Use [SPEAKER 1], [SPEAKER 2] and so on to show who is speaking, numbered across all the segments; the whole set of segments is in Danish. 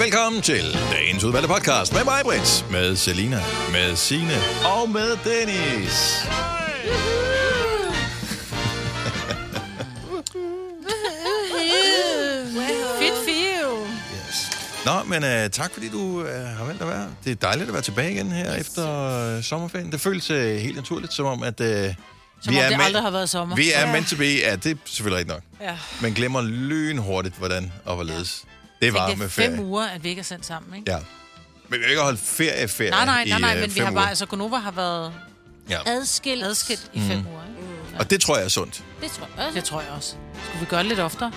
[SPEAKER 1] Velkommen til dagens udvalgte podcast med mig, Brits, med Selina, med Sine og med Dennis.
[SPEAKER 2] Fedt fio.
[SPEAKER 1] Yes. Nå, men uh, tak fordi du uh, har valgt at være. Det er dejligt at være tilbage igen her yes. efter uh, sommerferien. Det føles uh, helt naturligt, som om, at... Uh,
[SPEAKER 2] Som om det aldrig har været sommer.
[SPEAKER 1] Vi er
[SPEAKER 2] Ja.
[SPEAKER 1] ja. meant to be, ja, det er selvfølgelig rigtigt nok.
[SPEAKER 2] Ja.
[SPEAKER 1] Man glemmer lynhurtigt, hvordan og hvorledes. Det var
[SPEAKER 2] Det er
[SPEAKER 1] med
[SPEAKER 2] fem
[SPEAKER 1] ferie.
[SPEAKER 2] uger, at vi ikke er sendt sammen, ikke?
[SPEAKER 1] Ja. Men vi har ikke holdt ferie, ferie
[SPEAKER 2] Nej, nej, nej,
[SPEAKER 1] i,
[SPEAKER 2] nej,
[SPEAKER 1] øh,
[SPEAKER 2] men vi
[SPEAKER 1] fem
[SPEAKER 2] har bare,
[SPEAKER 1] uger.
[SPEAKER 2] altså Gonova har været
[SPEAKER 1] Ja. Mm.
[SPEAKER 2] adskilt, adskilt i fem uger, ikke?
[SPEAKER 1] Og det tror jeg er sundt.
[SPEAKER 2] Det tror jeg også. Det tror jeg også. Skulle vi gøre det lidt oftere?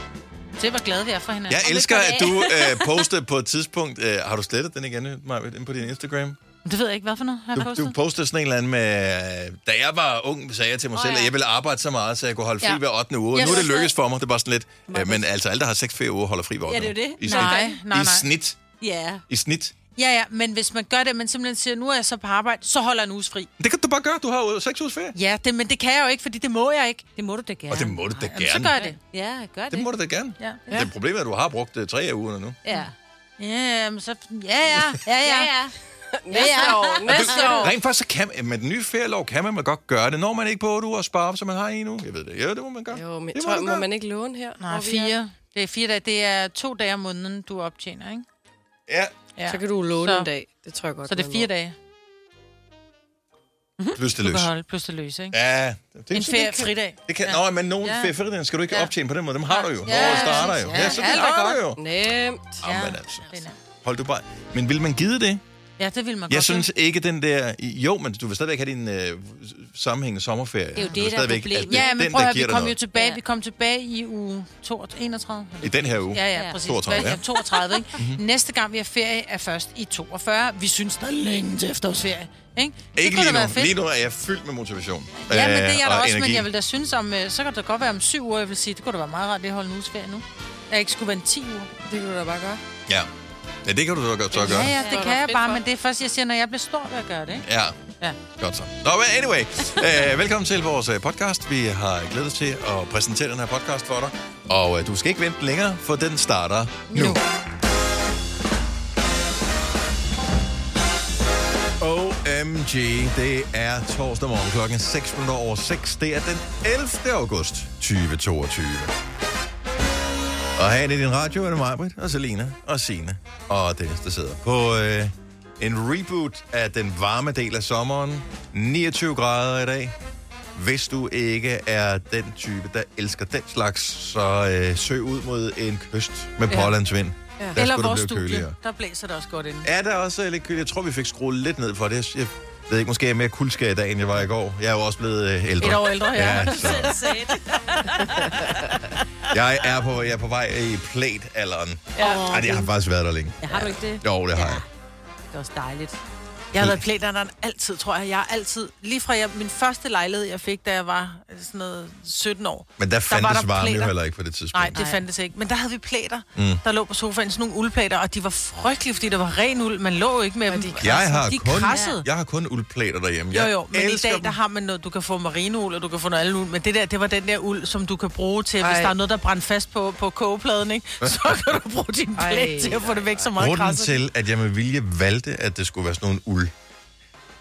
[SPEAKER 2] Se, hvor glade vi er for hinanden.
[SPEAKER 1] Jeg elsker, at du øh, postede på et tidspunkt... Øh, har du slettet den igen, Maja, inde på din Instagram?
[SPEAKER 2] Men Det ved jeg ikke, hvad for noget har jeg
[SPEAKER 1] Du, du
[SPEAKER 2] postet.
[SPEAKER 1] postede sådan en eller anden med... øh, Da jeg var ung, sagde jeg til mig
[SPEAKER 2] Åh,
[SPEAKER 1] selv,
[SPEAKER 2] ja.
[SPEAKER 1] at jeg ville arbejde så meget, så jeg kunne holde fri
[SPEAKER 2] Ja.
[SPEAKER 1] hver 8. uge.
[SPEAKER 2] Jeg
[SPEAKER 1] nu er det
[SPEAKER 2] synes,
[SPEAKER 1] lykkedes for mig. Det er bare sådan lidt... Øh, men altså, alle, der har 6 ferie uger, holder fri hver 8.
[SPEAKER 2] Ja, det er jo det.
[SPEAKER 1] I snit.
[SPEAKER 2] Nej, nej, nej.
[SPEAKER 1] I snit.
[SPEAKER 2] Ja.
[SPEAKER 1] I snit.
[SPEAKER 2] ja, ja, men hvis man gør det, man simpelthen siger, nu er jeg så på arbejde, så holder jeg en uges fri.
[SPEAKER 1] Det kan du bare gøre. Du har jo 6 ugers ferie.
[SPEAKER 2] Ja, det, men det kan jeg jo ikke, fordi det må jeg ikke.
[SPEAKER 3] Det må du da gerne.
[SPEAKER 1] Og det må du da
[SPEAKER 2] Jamen, så
[SPEAKER 1] gerne.
[SPEAKER 2] gør jeg det.
[SPEAKER 3] Ja, gør det.
[SPEAKER 1] Det må du da gerne.
[SPEAKER 2] Ja.
[SPEAKER 1] Ja. Det problem er, at du har brugt øh, tre af ugerne nu.
[SPEAKER 3] Ja.
[SPEAKER 2] Ja, men så... Ja, ja, ja, ja. ja.
[SPEAKER 3] Næste år.
[SPEAKER 2] Næste år.
[SPEAKER 1] Rent faktisk, så kan, man- med den nye ferielov kan man vel godt gøre det. Når man ikke på 8 uger sparer, op, så man har en uge. Jeg ved det. Ja, det må man gøre.
[SPEAKER 4] Jo, men
[SPEAKER 1] det
[SPEAKER 4] tror,
[SPEAKER 1] du
[SPEAKER 4] må
[SPEAKER 1] gøre.
[SPEAKER 4] man ikke låne her?
[SPEAKER 2] Nej,
[SPEAKER 4] hvor vi er?
[SPEAKER 2] fire. Det er fire dage. Det er to dage om måneden, du optjener, ikke?
[SPEAKER 1] Ja,
[SPEAKER 2] Ja.
[SPEAKER 4] Så kan du låne
[SPEAKER 2] Så-
[SPEAKER 4] så. en dag. Det tror jeg godt.
[SPEAKER 2] Så det er
[SPEAKER 4] man
[SPEAKER 2] fire
[SPEAKER 4] må.
[SPEAKER 2] dage,
[SPEAKER 1] plus det
[SPEAKER 2] Mhm. du
[SPEAKER 1] løs.
[SPEAKER 2] kan holde, plus det løse, ikke?
[SPEAKER 1] Ja, det,
[SPEAKER 2] En
[SPEAKER 1] så det
[SPEAKER 2] ferie
[SPEAKER 1] kan-
[SPEAKER 2] fridag.
[SPEAKER 1] Det kan,
[SPEAKER 2] Ja.
[SPEAKER 1] ja. Nå, men nogle
[SPEAKER 2] Ja.
[SPEAKER 1] ja. ferier skal du ikke
[SPEAKER 2] Ja.
[SPEAKER 1] ja. optjene på den måde. Dem har du jo.
[SPEAKER 2] Ja,
[SPEAKER 1] Ja, Året starter jo.
[SPEAKER 2] præcis.
[SPEAKER 1] Ja, så
[SPEAKER 2] Ja,
[SPEAKER 1] det
[SPEAKER 2] alt er
[SPEAKER 1] har du
[SPEAKER 2] godt.
[SPEAKER 1] jo.
[SPEAKER 4] Nemt.
[SPEAKER 1] Ja. Jamen, altså.
[SPEAKER 2] Det er nemt.
[SPEAKER 1] Hold du bare. Men vil man give det?
[SPEAKER 2] Ja, det vil man
[SPEAKER 1] Jeg
[SPEAKER 2] godt.
[SPEAKER 1] synes ikke, den der... Jo, men du vil stadigvæk have din øh, sammenhængende sommerferie. Det
[SPEAKER 3] er jo det, der er problemet.
[SPEAKER 2] Ja, men
[SPEAKER 1] altså,
[SPEAKER 2] prøv
[SPEAKER 1] den, der
[SPEAKER 2] at høre,
[SPEAKER 1] giver
[SPEAKER 2] vi
[SPEAKER 1] dig
[SPEAKER 2] kom jo
[SPEAKER 1] noget.
[SPEAKER 2] tilbage,
[SPEAKER 3] Ja.
[SPEAKER 2] vi kom tilbage i uge 32, 31.
[SPEAKER 1] I den her uge.
[SPEAKER 2] Ja, ja,
[SPEAKER 3] Ja.
[SPEAKER 2] præcis.
[SPEAKER 1] 32, ja. Mhm.
[SPEAKER 2] 32, ikke? Mm-hmm. Næste gang vi har ferie er først i 42. Vi synes, der er længe til efterårsferie, ikke? Det
[SPEAKER 1] Ikke
[SPEAKER 2] kunne da
[SPEAKER 1] lige
[SPEAKER 2] være
[SPEAKER 1] nu.
[SPEAKER 2] fedt.
[SPEAKER 1] Lige nu er jeg fyldt med motivation.
[SPEAKER 2] Ja, men det er
[SPEAKER 1] øh,
[SPEAKER 2] jeg da
[SPEAKER 1] og
[SPEAKER 2] også, men
[SPEAKER 1] energi.
[SPEAKER 2] jeg vil da synes om, øh, så kan det da godt være om syv uger, jeg vil sige, det kunne da være meget rart, det at holde en uges ferie nu. Jeg ikke skulle vente 10 uger.
[SPEAKER 4] Det kan du da bare gøre.
[SPEAKER 1] Ja. ja, det kan du så godt så gøre.
[SPEAKER 2] Ja, ja,
[SPEAKER 4] det
[SPEAKER 2] det
[SPEAKER 4] var
[SPEAKER 2] kan jeg
[SPEAKER 4] fedt
[SPEAKER 2] bare,
[SPEAKER 4] for.
[SPEAKER 2] men det er først, jeg siger, når jeg bliver stor, vil jeg gøre det, ikke?
[SPEAKER 1] Ja.
[SPEAKER 2] Ja.
[SPEAKER 1] Godt så. Nå, men anyway. øh, velkommen til vores øh, podcast. Vi har glædet os til at præsentere den her podcast for dig. Og øh, du skal ikke vente længere, for den starter nu. nu. OMG, det er torsdag morgen klokken 6 over 6. Det er den 11. august 2022. Og her i din radio er det mig, Britt, og Selina, og Sine og Dennis, der sidder på øh, en reboot af den varme del af sommeren. 29 grader i dag. Hvis du ikke er den type, der elsker den slags, så øh, søg ud mod en kyst med
[SPEAKER 2] Ja.
[SPEAKER 1] pålandsvind. Ja. Der
[SPEAKER 2] Eller
[SPEAKER 1] skulle det
[SPEAKER 2] vores
[SPEAKER 1] blive køligere.
[SPEAKER 2] studie, der blæser det også godt inden.
[SPEAKER 1] Ja, der er også lidt køligt. Jeg tror, vi fik skruet lidt ned for det. Jeg ved ikke, måske er jeg mere kuldskær i dag, end jeg var i går. Jeg er jo også blevet øh, ældre.
[SPEAKER 2] Et år ældre, ja.
[SPEAKER 1] Ja, så. Jeg er på, jeg er på vej i plæt-alderen.
[SPEAKER 2] Ja.
[SPEAKER 1] Ej, det har faktisk været der længe.
[SPEAKER 3] Ja, har du ikke det?
[SPEAKER 1] Jo, det har jeg.
[SPEAKER 3] Det er også dejligt.
[SPEAKER 2] Jeg har været plæderen altid, tror jeg. Jeg har altid, lige fra jeg, min første lejlighed, jeg fik, da jeg var øh, sådan noget 17 år.
[SPEAKER 1] Men der fandtes
[SPEAKER 2] var der
[SPEAKER 1] der varme
[SPEAKER 2] plæter.
[SPEAKER 1] jo heller ikke på det tidspunkt.
[SPEAKER 2] Nej, det fandtes ikke. Men der havde vi plæter, mm. der lå på sofaen, sådan nogle uldplæter, og de var frygtelige, fordi der var ren uld. Man lå jo ikke med dem. De
[SPEAKER 1] jeg har,
[SPEAKER 2] de er
[SPEAKER 1] kun,
[SPEAKER 2] krassede.
[SPEAKER 1] jeg har kun uldplæter derhjemme.
[SPEAKER 2] Jo,
[SPEAKER 1] Jeg
[SPEAKER 2] jo, men i
[SPEAKER 1] elsker
[SPEAKER 2] dag,
[SPEAKER 1] dem.
[SPEAKER 2] der har man noget, du kan få marinul, og du kan få noget andet uld, men det der, det var den der uld, som du kan bruge til, hvis
[SPEAKER 4] Ej.
[SPEAKER 2] der er noget, der brænder fast på, på kogepladen, ikke? Så kan du bruge din
[SPEAKER 4] Ej.
[SPEAKER 2] plæt til at få det væk så meget
[SPEAKER 1] Grunden
[SPEAKER 2] krasset.
[SPEAKER 1] til, at jeg med vilje valgte, at det skulle være sådan nogle uld...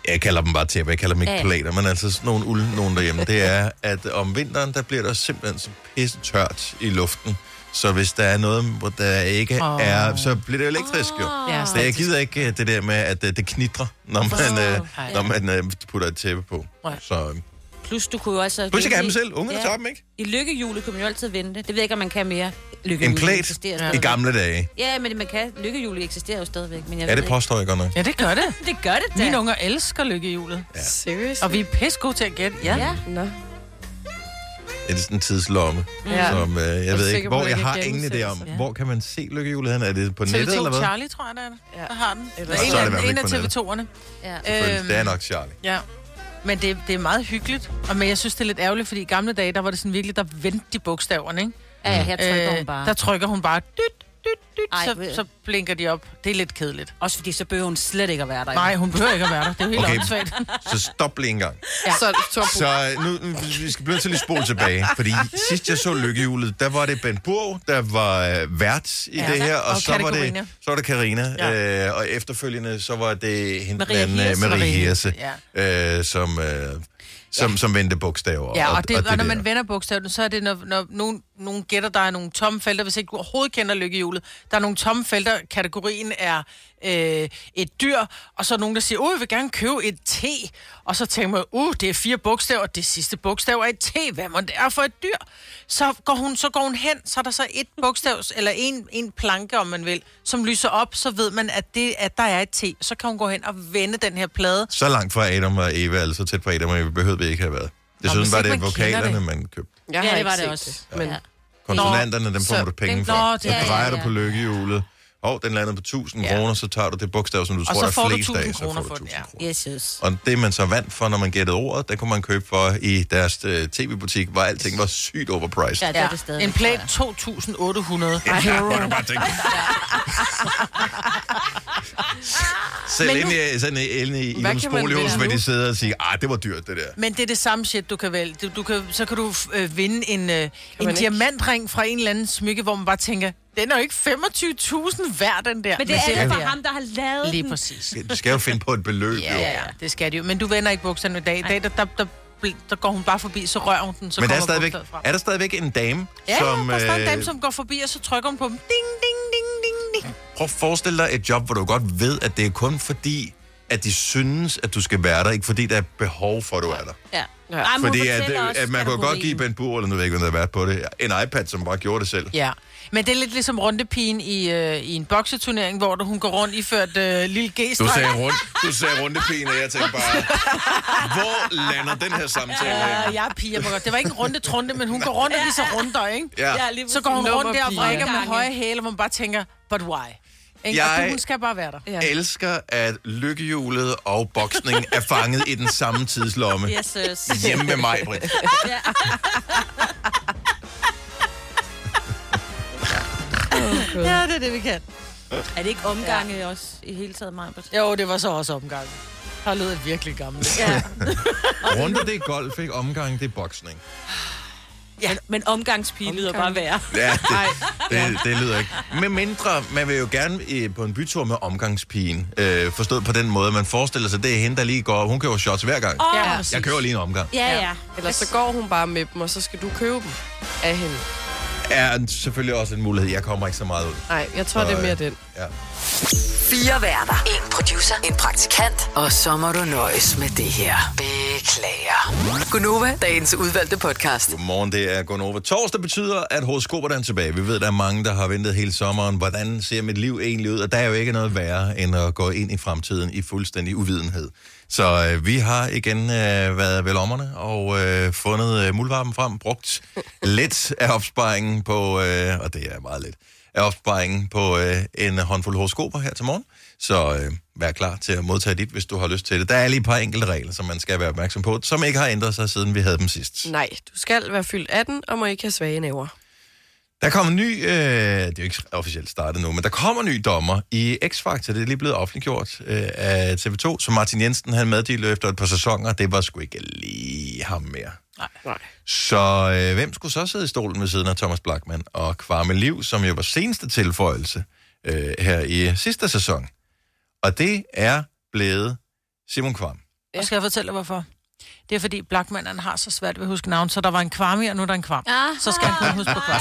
[SPEAKER 1] Jeg kalder dem bare tæpper, jeg kalder dem ikke
[SPEAKER 3] Ja.
[SPEAKER 1] plater, men altså sådan nogle uld, nogen derhjemme, det er, at om vinteren, der bliver der simpelthen så pisse tørt i luften. Så hvis der er noget, hvor der ikke
[SPEAKER 2] Åh.
[SPEAKER 1] oh. er, så bliver det elektrisk jo.
[SPEAKER 2] Ja,
[SPEAKER 1] Så jeg gider ikke øh, det der med, at øh, det knitrer, når man, øh, når man øh, putter et tæppe på.
[SPEAKER 2] Nej.
[SPEAKER 1] Så øh,
[SPEAKER 3] Plus, du kunne jo også...
[SPEAKER 1] pludselig kan jeg have dem selv. Ungerne tager dem, ikke?
[SPEAKER 3] I lykkehjulet kunne man jo altid vente. Det ved jeg ikke, om man kan mere. Lykkehjulet
[SPEAKER 1] En plæt
[SPEAKER 3] eksisterer
[SPEAKER 1] i
[SPEAKER 3] stadigvæk.
[SPEAKER 1] gamle dage.
[SPEAKER 3] Ja, men det- man kan. Lykkehjulet eksisterer jo stadigvæk. Men jeg
[SPEAKER 1] Ja,
[SPEAKER 3] ved
[SPEAKER 1] det
[SPEAKER 3] ikke.
[SPEAKER 1] påstår jeg godt nok.
[SPEAKER 2] Ja, det gør det.
[SPEAKER 3] Det gør det da.
[SPEAKER 2] Mine unger elsker lykkehjulet.
[SPEAKER 4] Ja. Seriøst?
[SPEAKER 2] Og vi er pisse gode til at gætte, ja.
[SPEAKER 3] Ja.
[SPEAKER 4] Nå.
[SPEAKER 1] Det er sådan en tidslomme.
[SPEAKER 4] Ja.
[SPEAKER 1] som øh, jeg, ved ikke,
[SPEAKER 4] sikker på,
[SPEAKER 1] hvor
[SPEAKER 4] det
[SPEAKER 1] jeg
[SPEAKER 4] ikke
[SPEAKER 1] har
[SPEAKER 4] er
[SPEAKER 1] ingen idé om.
[SPEAKER 4] genudsendelse.
[SPEAKER 1] Ja. Hvor kan man se lykkehjulet hen? Er det på nettet eller
[SPEAKER 2] TV2
[SPEAKER 1] hvad?
[SPEAKER 2] Charlie, tror jeg, der er det.
[SPEAKER 4] Ja.
[SPEAKER 2] Der har den.
[SPEAKER 4] Eller-
[SPEAKER 2] Eller
[SPEAKER 1] Så er
[SPEAKER 2] en
[SPEAKER 1] det i
[SPEAKER 2] af,
[SPEAKER 1] hvert fald
[SPEAKER 2] en af
[SPEAKER 1] ikke på nettet.
[SPEAKER 2] TV2'erne.
[SPEAKER 3] ja.
[SPEAKER 1] Selvfølgelig. Det
[SPEAKER 2] Øhm,
[SPEAKER 1] er nok Charlie.
[SPEAKER 2] Ja. Men det, det er meget hyggeligt, og men jeg synes, det er lidt ærgerligt, fordi i gamle dage, der var det sådan virkelig, der vendte de bogstaverne, ikke?
[SPEAKER 3] Ja, her trykker hun bare.
[SPEAKER 2] Der trykker hun bare dyt, dyt, dyt,
[SPEAKER 3] Ej,
[SPEAKER 2] så,
[SPEAKER 3] ved-
[SPEAKER 2] så blinker de op. Det er lidt kedeligt.
[SPEAKER 3] Også fordi så behøver hun slet ikke at være der.
[SPEAKER 2] Nej, hun behøver ikke at være der. Det er jo helt
[SPEAKER 1] Okay.
[SPEAKER 2] okay. åndssvagt.
[SPEAKER 1] Så stop lige en gang.
[SPEAKER 4] Ja. Så Torbo.
[SPEAKER 1] Så øh, nu, nu vi skal blive til lidt spole tilbage, fordi sidst jeg så lykkehjulet, der var det Ben Burg, der var øh, vært i
[SPEAKER 2] Ja,
[SPEAKER 1] det her, og,
[SPEAKER 2] og
[SPEAKER 1] så, var
[SPEAKER 2] Katarina.
[SPEAKER 1] det, så var det Karina, ja.
[SPEAKER 2] Ja.
[SPEAKER 1] øh, og efterfølgende så var det hende
[SPEAKER 3] Maria
[SPEAKER 1] den anden, øh,
[SPEAKER 3] Hirse.
[SPEAKER 1] Marie
[SPEAKER 2] Marie
[SPEAKER 1] Hirse,
[SPEAKER 2] Hirse,
[SPEAKER 1] øh, som, øh, som, ja. som vendte bogstaver.
[SPEAKER 2] Ja, og, det, og, når
[SPEAKER 1] der.
[SPEAKER 2] man vender bogstaven, så er det, når, når nogen, nogen gætter, der er nogle tomme felter, hvis ikke du overhovedet kender lykkehjulet. Der er nogle tomme felter, kategorien er øh, et dyr, og så er nogen, der siger, uh, jeg vil gerne købe et T. Og så tænker man, uh, det er fire bogstaver, det sidste bogstav er et T, hvad må det er for et dyr? Så går hun, så går hun hen, så er der så et bogstav, eller en, en planke, om man vil, som lyser op, så ved man, at, det, at der er et T. Så kan hun gå hen og vende den her plade,
[SPEAKER 1] Så langt fra Adam og Eva, altså tæt på Adam og Eva, behøvede vi ikke have været. Desuden
[SPEAKER 2] hvis
[SPEAKER 1] var
[SPEAKER 2] ikke
[SPEAKER 1] det
[SPEAKER 2] man kender
[SPEAKER 1] vokalerne,
[SPEAKER 2] det.
[SPEAKER 1] man købte.
[SPEAKER 4] Jeg har
[SPEAKER 3] Ja, det
[SPEAKER 4] ikke
[SPEAKER 3] var det
[SPEAKER 4] set
[SPEAKER 3] også.
[SPEAKER 4] Det. Men
[SPEAKER 3] Ja.
[SPEAKER 1] Konsonanterne, dem får
[SPEAKER 2] så-
[SPEAKER 1] du penge
[SPEAKER 2] den-
[SPEAKER 1] for.
[SPEAKER 2] Nå, det-
[SPEAKER 1] så
[SPEAKER 2] ja, ja,
[SPEAKER 1] drejer
[SPEAKER 3] ja.
[SPEAKER 1] du på lykkehjulet, og den lander på 1000
[SPEAKER 2] Ja.
[SPEAKER 1] kroner, så tager du det bogstav, som du
[SPEAKER 2] og
[SPEAKER 1] tror,
[SPEAKER 2] så
[SPEAKER 1] der
[SPEAKER 2] får
[SPEAKER 1] er
[SPEAKER 2] du
[SPEAKER 1] flest
[SPEAKER 2] 1000
[SPEAKER 1] af, så får
[SPEAKER 2] kroner
[SPEAKER 1] du
[SPEAKER 2] for den.
[SPEAKER 1] 1000
[SPEAKER 2] Ja.
[SPEAKER 1] kroner.
[SPEAKER 3] Yes, yes.
[SPEAKER 1] Og det, man så vandt for, når man gættede ordet, der kunne man købe for i deres øh, tv-butik, hvor alting var sygt overpriced.
[SPEAKER 3] Ja, det er det stadig.
[SPEAKER 2] En plate 2800.
[SPEAKER 1] Ja, hvor du bare tænker. Selv inde i, sådan inde i
[SPEAKER 4] Hvad
[SPEAKER 1] Ilums
[SPEAKER 4] kan man
[SPEAKER 1] bolighus,
[SPEAKER 4] vinde
[SPEAKER 1] hvor de
[SPEAKER 4] nu?
[SPEAKER 1] sidder og siger, ah, det var dyrt, det der.
[SPEAKER 2] Men det er det samme shit, du kan vælge. Du, du kan, så kan du øh, vinde en, øh, en
[SPEAKER 4] ikke?
[SPEAKER 2] diamantring fra en eller anden smykke, hvor man bare tænker, den er jo ikke 25.000 værd, den der.
[SPEAKER 3] Men det er
[SPEAKER 2] det
[SPEAKER 3] alt for ham, der har lavet den.
[SPEAKER 2] Lige præcis.
[SPEAKER 1] Du skal jo finde på et beløb,
[SPEAKER 2] Ja,
[SPEAKER 1] jo.
[SPEAKER 2] ja, ja, det skal de jo. Men du vender ikke bukserne i dag. I dag, der, der, der, bl- der går hun bare forbi, så rører hun den, så
[SPEAKER 1] Men der er,
[SPEAKER 2] kommer
[SPEAKER 1] stadigvæk,
[SPEAKER 2] bogstavet frem.
[SPEAKER 1] er der stadigvæk en dame,
[SPEAKER 2] Ja,
[SPEAKER 1] som...
[SPEAKER 2] ja, der er stadig en dame,
[SPEAKER 1] øh,
[SPEAKER 2] som går forbi, og så trykker hun på dem. Ding, ding, ding, ding, ding.
[SPEAKER 1] Prøv at forestille dig et job, hvor du godt ved, at det er kun fordi, at de synes, at du skal være der, ikke fordi der er behov for, at du er der.
[SPEAKER 3] Ja.
[SPEAKER 4] Ja.
[SPEAKER 3] Ej, men hun
[SPEAKER 1] Fordi at, øh,
[SPEAKER 3] fortæller også
[SPEAKER 1] at man kunne godt
[SPEAKER 3] kategorien.
[SPEAKER 1] give Ben Bur, eller nu ved jeg ikke, hvem der har været på det, en iPad, som bare gjorde det selv.
[SPEAKER 2] Ja, men det er lidt ligesom rundepigen i, øh, i en bokseturnering, hvor du, hun går rundt iført øh, lille g
[SPEAKER 1] Du sagde, rundt, du sagde rundepigen, og jeg tænkte bare, hvor lander den her samtale?
[SPEAKER 2] Ja,
[SPEAKER 1] hen?
[SPEAKER 2] jeg er pige, jeg må godt. Det var ikke en runde trunde, men hun går rundt og viser runder, ikke?
[SPEAKER 1] Ja.
[SPEAKER 3] Ja, lige
[SPEAKER 2] Så går hun rundt der og
[SPEAKER 4] Nummerpige.
[SPEAKER 2] vrikker med
[SPEAKER 3] Gange.
[SPEAKER 2] høje hæle, hvor man bare tænker, but why? Ikke?
[SPEAKER 1] Jeg-
[SPEAKER 2] Jeg... Og hun skal bare være der.
[SPEAKER 4] Ja.
[SPEAKER 1] elsker, at lykkehjulet og boksning er fanget i den samme tidslomme.
[SPEAKER 3] Yes, yes.
[SPEAKER 1] Hjemme med mig, Britt.
[SPEAKER 3] Ja.
[SPEAKER 2] Ja, det er det, vi kan.
[SPEAKER 3] Er det ikke omgange ja. også i hele taget, Majbert?
[SPEAKER 2] Jo, det var så også omgang. Har lyder virkelig gammel.
[SPEAKER 3] Ja.
[SPEAKER 1] Runder det er golf, ikke? Omgang, det er boksning.
[SPEAKER 3] ja. Men, men omgangspige lyder bare værre.
[SPEAKER 1] Ja, det, det, det lyder ikke. Med mindre, man vil jo gerne øh, på en bytur med omgangspigen. Øh, forstået på den måde, man forestiller sig, det er hende, der lige går. Hun køber shots hver gang.
[SPEAKER 3] Åh,
[SPEAKER 2] Ja.
[SPEAKER 1] Jeg kører lige en omgang.
[SPEAKER 3] Ja, ja.
[SPEAKER 4] Ellers så går hun bare med dem, og så skal du købe dem af hende.
[SPEAKER 1] Er selvfølgelig også en mulighed. Jeg kommer ikke så meget ud. øh,
[SPEAKER 4] Nej, jeg tror, det er mere den.
[SPEAKER 1] Ja.
[SPEAKER 5] Fire værter. En producer. En praktikant. Og så må du nøjes med det her. Beklager. Gunova, dagens udvalgte podcast.
[SPEAKER 1] Godmorgen, det er Gunova. Torsdag betyder, at horoskoperne er tilbage. Vi ved, der er mange, der har ventet hele sommeren. Hvordan ser mit liv egentlig ud? Og der er jo ikke noget værre, end at gå ind i fremtiden i fuldstændig uvidenhed. Så øh, vi har igen øh, været ved lommerne og øh, fundet øh, muldvarpen frem, brugt lidt af opsparingen på, øh, og det er meget lidt, af opsparingen på øh, en håndfuld horoskoper her til morgen. Så øh, vær klar til at modtage dit, hvis du har lyst til det. Der er lige et par enkelte regler, som man skal være opmærksom på, som ikke har ændret sig, siden vi havde dem sidst.
[SPEAKER 4] Nej, du skal være fyldt 18 og må ikke have svage næver.
[SPEAKER 1] Der kommer en ny, øh, det er jo ikke officielt startet nu, men der kommer en ny dommer i X-Factor. Det er lige blevet offentliggjort øh, af TV2, så Martin Jensen han meddelte efter et par sæsoner, det var sgu ikke lige ham mere.
[SPEAKER 4] Nej.
[SPEAKER 1] Så øh, hvem skulle så sidde i stolen ved siden af Thomas Blackman og Kvarme Liv, som jo var seneste tilføjelse øh, her i sidste sæson? Og det er blevet Simon Kvam.
[SPEAKER 2] Og skal jeg fortælle dig, hvorfor? Det er fordi Blackmannen har så svært ved at huske navn, så der var en kvarm i, og nu er der en kvarm.
[SPEAKER 3] Ah.
[SPEAKER 2] Så skal han kun huske på kvarm.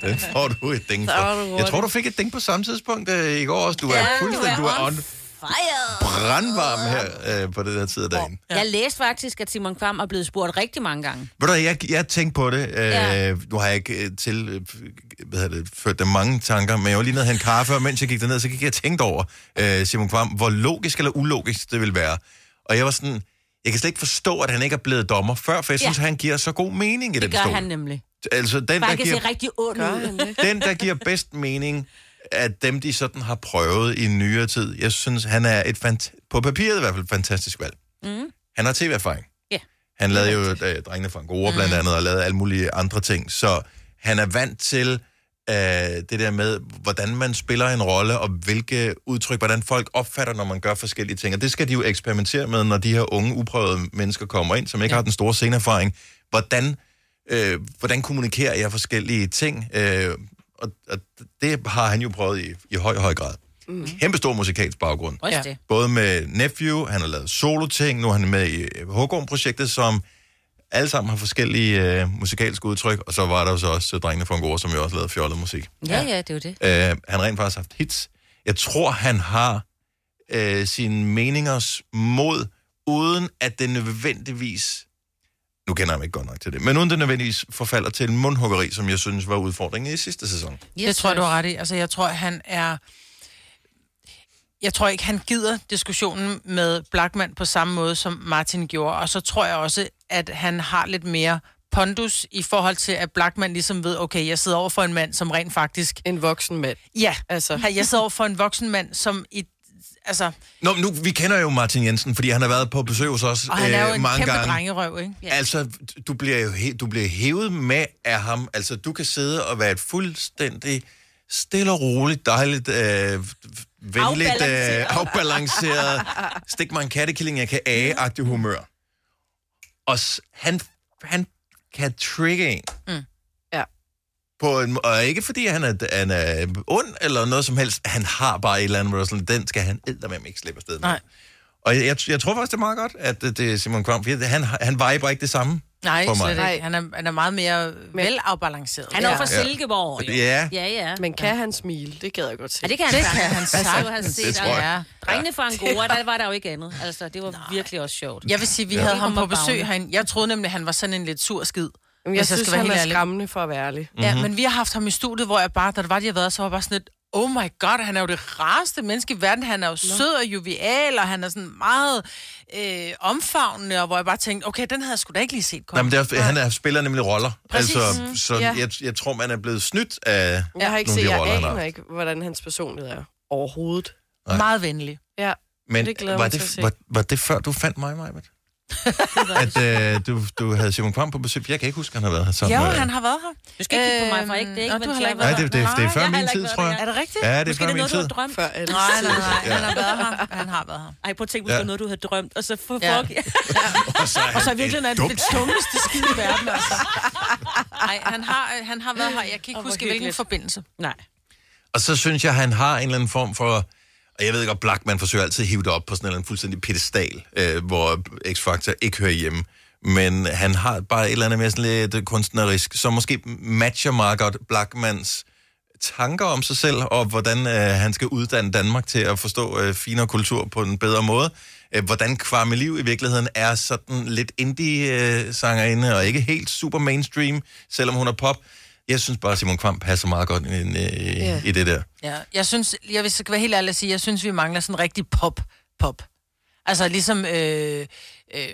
[SPEAKER 1] Den får du et ding
[SPEAKER 4] Så var du
[SPEAKER 1] for.
[SPEAKER 4] hurtig.
[SPEAKER 1] Jeg tror, du fik et ding på samme tidspunkt øh, i går også. Du er fuldstændig, du er on
[SPEAKER 3] fire.
[SPEAKER 1] brandvarm her øh, på det her tid af dagen.
[SPEAKER 3] Ja. Jeg læste faktisk, at Simon Kvam er blevet spurgt rigtig mange gange.
[SPEAKER 1] Ved du, hvad, jeg, jeg tænkte på det. Øh,
[SPEAKER 3] Ja.
[SPEAKER 1] Nu har jeg ikke øh, til, øh, hvad hedder det, ført der mange tanker, men jeg var lige nede og hente kaffe, og mens jeg gik derned, så gik jeg og tænkte over, øh, Simon Kvam, hvor logisk eller ulogisk det ville være. Og jeg var sådan, jeg kan slet ikke forstå, at han ikke er blevet dommer før, for jeg
[SPEAKER 3] Ja.
[SPEAKER 1] synes, han giver så god mening i
[SPEAKER 3] Det
[SPEAKER 1] den
[SPEAKER 3] gør
[SPEAKER 1] stol.
[SPEAKER 3] han nemlig.
[SPEAKER 1] Altså, den,
[SPEAKER 3] For
[SPEAKER 1] der
[SPEAKER 3] han kan
[SPEAKER 1] giver,
[SPEAKER 3] se rigtig ond
[SPEAKER 4] Gør
[SPEAKER 3] ud.
[SPEAKER 4] han det?
[SPEAKER 1] den, der giver bedst mening af dem, de sådan har prøvet i nyere tid. Jeg synes, han er et fant- på papiret i hvert fald fantastisk valg.
[SPEAKER 3] Mm.
[SPEAKER 1] Han har tv-erfaring.
[SPEAKER 3] Ja.
[SPEAKER 1] Han lavede jo øh, Drengene fra Angora blandt andet, og lavede alle mulige andre ting. Så han er vant til af det der med, hvordan man spiller en rolle, og hvilke udtryk, hvordan folk opfatter, når man gør forskellige ting. Og det skal de jo eksperimentere med, når de her unge, uprøvede mennesker kommer ind, som ikke ja. har den store sceneerfaring. Hvordan, øh, hvordan kommunikerer jeg forskellige ting? Øh, og, og det har han jo prøvet i, i høj, høj grad. Mm. Kæmpe stor musikalsk baggrund.
[SPEAKER 3] Også det.
[SPEAKER 1] Både med Nephew, han har lavet solo-ting, nu er han med i Hågården-projektet, som alle sammen har forskellige øh, musikalske udtryk, og så var der jo så også øh, drengene fra Angora, som jo også lavede fjollet musik.
[SPEAKER 3] Ja, ja, det er jo det.
[SPEAKER 1] Øh, han har rent faktisk haft hits. Jeg tror, han har øh, sine meningers mod, uden at det nødvendigvis... Nu kender jeg mig ikke godt nok til det, men uden det nødvendigvis forfalder til en mundhuggeri, som jeg synes var udfordringen i sidste sæson.
[SPEAKER 2] Yes, det tror jeg, du har ret i. Altså, jeg tror, han er... Jeg tror ikke, han gider diskussionen med Blackman på samme måde, som Martin gjorde. Og så tror jeg også, at han har lidt mere pondus i forhold til, at Blackman ligesom ved, okay, jeg sidder over for en mand, som rent faktisk...
[SPEAKER 4] En voksen mand.
[SPEAKER 2] Ja,
[SPEAKER 4] Altså.
[SPEAKER 2] altså. jeg sidder over for en voksen mand, som i... Altså,
[SPEAKER 1] Nå, men nu, vi kender jo Martin Jensen, fordi han har været på besøg hos os
[SPEAKER 2] og han er jo
[SPEAKER 1] øh,
[SPEAKER 2] en
[SPEAKER 1] mange
[SPEAKER 2] kæmpe
[SPEAKER 1] gange.
[SPEAKER 2] drengerøv, ikke?
[SPEAKER 1] Ja. Altså, du bliver jo he- du bliver hævet med af ham. Altså, du kan sidde og være et fuldstændig stille og roligt, dejligt, øh, venligt, afbalanceret, øh, afbalanceret stik mig en kattekilling, jeg kan age-agtig humør. Og s- han, han kan trigge en. Mm.
[SPEAKER 4] Ja.
[SPEAKER 1] På en, og ikke fordi han er, han er ond eller noget som helst. Han har bare et eller andet, hvor der er sådan, den skal han eddermame ikke slippe afsted med.
[SPEAKER 2] Nej.
[SPEAKER 1] Og jeg, jeg, jeg tror faktisk, det er meget godt, at det, det er Simon Kvam, fordi han, han viber ikke det samme.
[SPEAKER 2] Nej,
[SPEAKER 1] For mig.
[SPEAKER 2] slet ikke.
[SPEAKER 4] Nej.
[SPEAKER 2] Han er, han er meget mere velafbalanceret.
[SPEAKER 3] Han er jo
[SPEAKER 4] Ja.
[SPEAKER 3] fra Silkeborg. jo.
[SPEAKER 1] Ja.
[SPEAKER 3] Ja, ja.
[SPEAKER 4] Men kan han smile? Det gad jeg godt se.
[SPEAKER 3] Ja, det kan han det
[SPEAKER 2] kan han Altså,
[SPEAKER 3] sagtens. Han set,
[SPEAKER 1] Det
[SPEAKER 3] det
[SPEAKER 1] tror jeg.
[SPEAKER 3] Ja. Drengene fra Angora, der var der jo ikke andet. Altså, det var Nej. virkelig også sjovt.
[SPEAKER 2] Jeg vil sige, vi ja. havde
[SPEAKER 3] Det
[SPEAKER 2] ham på
[SPEAKER 3] kommer
[SPEAKER 2] besøg
[SPEAKER 3] baglende.
[SPEAKER 2] herinde. Jeg troede nemlig, han var sådan en lidt sur skid.
[SPEAKER 4] Jamen, jeg
[SPEAKER 2] hvis
[SPEAKER 4] synes, jeg
[SPEAKER 2] være
[SPEAKER 4] han
[SPEAKER 2] helt
[SPEAKER 4] er
[SPEAKER 2] ærlig.
[SPEAKER 4] skræmmende for at være ærlig.
[SPEAKER 1] Mhm.
[SPEAKER 2] Ja, men vi har haft ham i studiet, hvor jeg bare, da det var, de har været, så var jeg bare sådan lidt, oh my god, han er jo det rareste menneske i verden. Han er jo sød og jovial, og han er sådan meget øh, omfavnende, og hvor jeg bare tænkte, okay, den havde jeg sgu da ikke lige set
[SPEAKER 1] Nej,
[SPEAKER 2] komme.
[SPEAKER 1] men det er, han er, spiller nemlig roller.
[SPEAKER 2] Præcis. Mm-hmm.
[SPEAKER 1] Altså, så
[SPEAKER 4] Ja.
[SPEAKER 1] jeg, jeg tror, man er blevet snydt af...
[SPEAKER 4] Jeg har ikke
[SPEAKER 1] Nogle
[SPEAKER 4] set,
[SPEAKER 1] af de
[SPEAKER 4] jeg
[SPEAKER 1] roller, han har
[SPEAKER 4] aner
[SPEAKER 1] haft.
[SPEAKER 4] ikke, hvordan hans personlighed er overhovedet.
[SPEAKER 2] Nej. Meget venlig.
[SPEAKER 4] Ja,
[SPEAKER 1] Men
[SPEAKER 4] Det glæder jeg
[SPEAKER 1] var,
[SPEAKER 4] mig til at
[SPEAKER 1] det,
[SPEAKER 4] se.
[SPEAKER 1] var, var det før, du fandt mig, Majbert? at øh, du, du havde Simon Kvam på besøg. Jeg kan ikke huske, han har været her sammen.
[SPEAKER 2] Jo,
[SPEAKER 1] med-
[SPEAKER 2] han har været her. Øhm,
[SPEAKER 3] Du skal ikke kigge på mig, for ikke? Det er ikke,
[SPEAKER 2] Nå,
[SPEAKER 3] hvad
[SPEAKER 2] du har
[SPEAKER 3] jeg
[SPEAKER 2] heller ikke
[SPEAKER 3] var.
[SPEAKER 1] øh, Nej, det, det, det er før
[SPEAKER 3] jeg har
[SPEAKER 1] min
[SPEAKER 3] heller
[SPEAKER 1] tid,
[SPEAKER 3] ikke
[SPEAKER 1] tror
[SPEAKER 3] været
[SPEAKER 1] jeg.
[SPEAKER 2] Er det rigtigt?
[SPEAKER 1] Ja, det er
[SPEAKER 3] Måske er
[SPEAKER 1] før
[SPEAKER 3] det
[SPEAKER 1] min
[SPEAKER 3] noget, du
[SPEAKER 1] tid.
[SPEAKER 3] har drømt.
[SPEAKER 4] før alle.
[SPEAKER 2] Nej, nej, nej, han har været her. Han har været her.
[SPEAKER 3] Ej, prøv at tænke, måske
[SPEAKER 1] Ja.
[SPEAKER 3] ja. noget, du havde drømt, og så for
[SPEAKER 2] Ja.
[SPEAKER 3] fuck. Ja.
[SPEAKER 1] Og så
[SPEAKER 2] Og så er virkelig
[SPEAKER 1] han
[SPEAKER 2] den, den dummeste skid i verden, altså. Nej, han
[SPEAKER 3] øh,
[SPEAKER 2] har, han har været her. Jeg kan ikke
[SPEAKER 3] hvor
[SPEAKER 2] huske, i hvilken
[SPEAKER 3] hyggeligt.
[SPEAKER 2] forbindelse.
[SPEAKER 3] Nej.
[SPEAKER 1] Og så synes jeg, han har en eller anden form for... Og jeg ved godt, Blackman forsøger altid at hive det op på sådan en eller anden fuldstændig pedestal, øh, hvor X-Factor ikke hører hjemme. Men han har bare et eller andet mere sådan lidt øh, kunstnerisk, som måske matcher meget godt Blackmans tanker om sig selv, og hvordan øh, han skal uddanne Danmark til at forstå øh, finere kultur på en bedre måde. Øh, hvordan Kvarme Liv i virkeligheden er sådan lidt indie-sangerinde, øh, og ikke helt super mainstream, selvom hun er pop. Jeg synes bare, at Simon Kvam passer meget godt ind, øh, yeah. i det der.
[SPEAKER 2] Ja, jeg synes, jeg vil skal være helt ærlig at sige, jeg synes, vi mangler sådan rigtig pop-pop. Altså ligesom, øh, øh,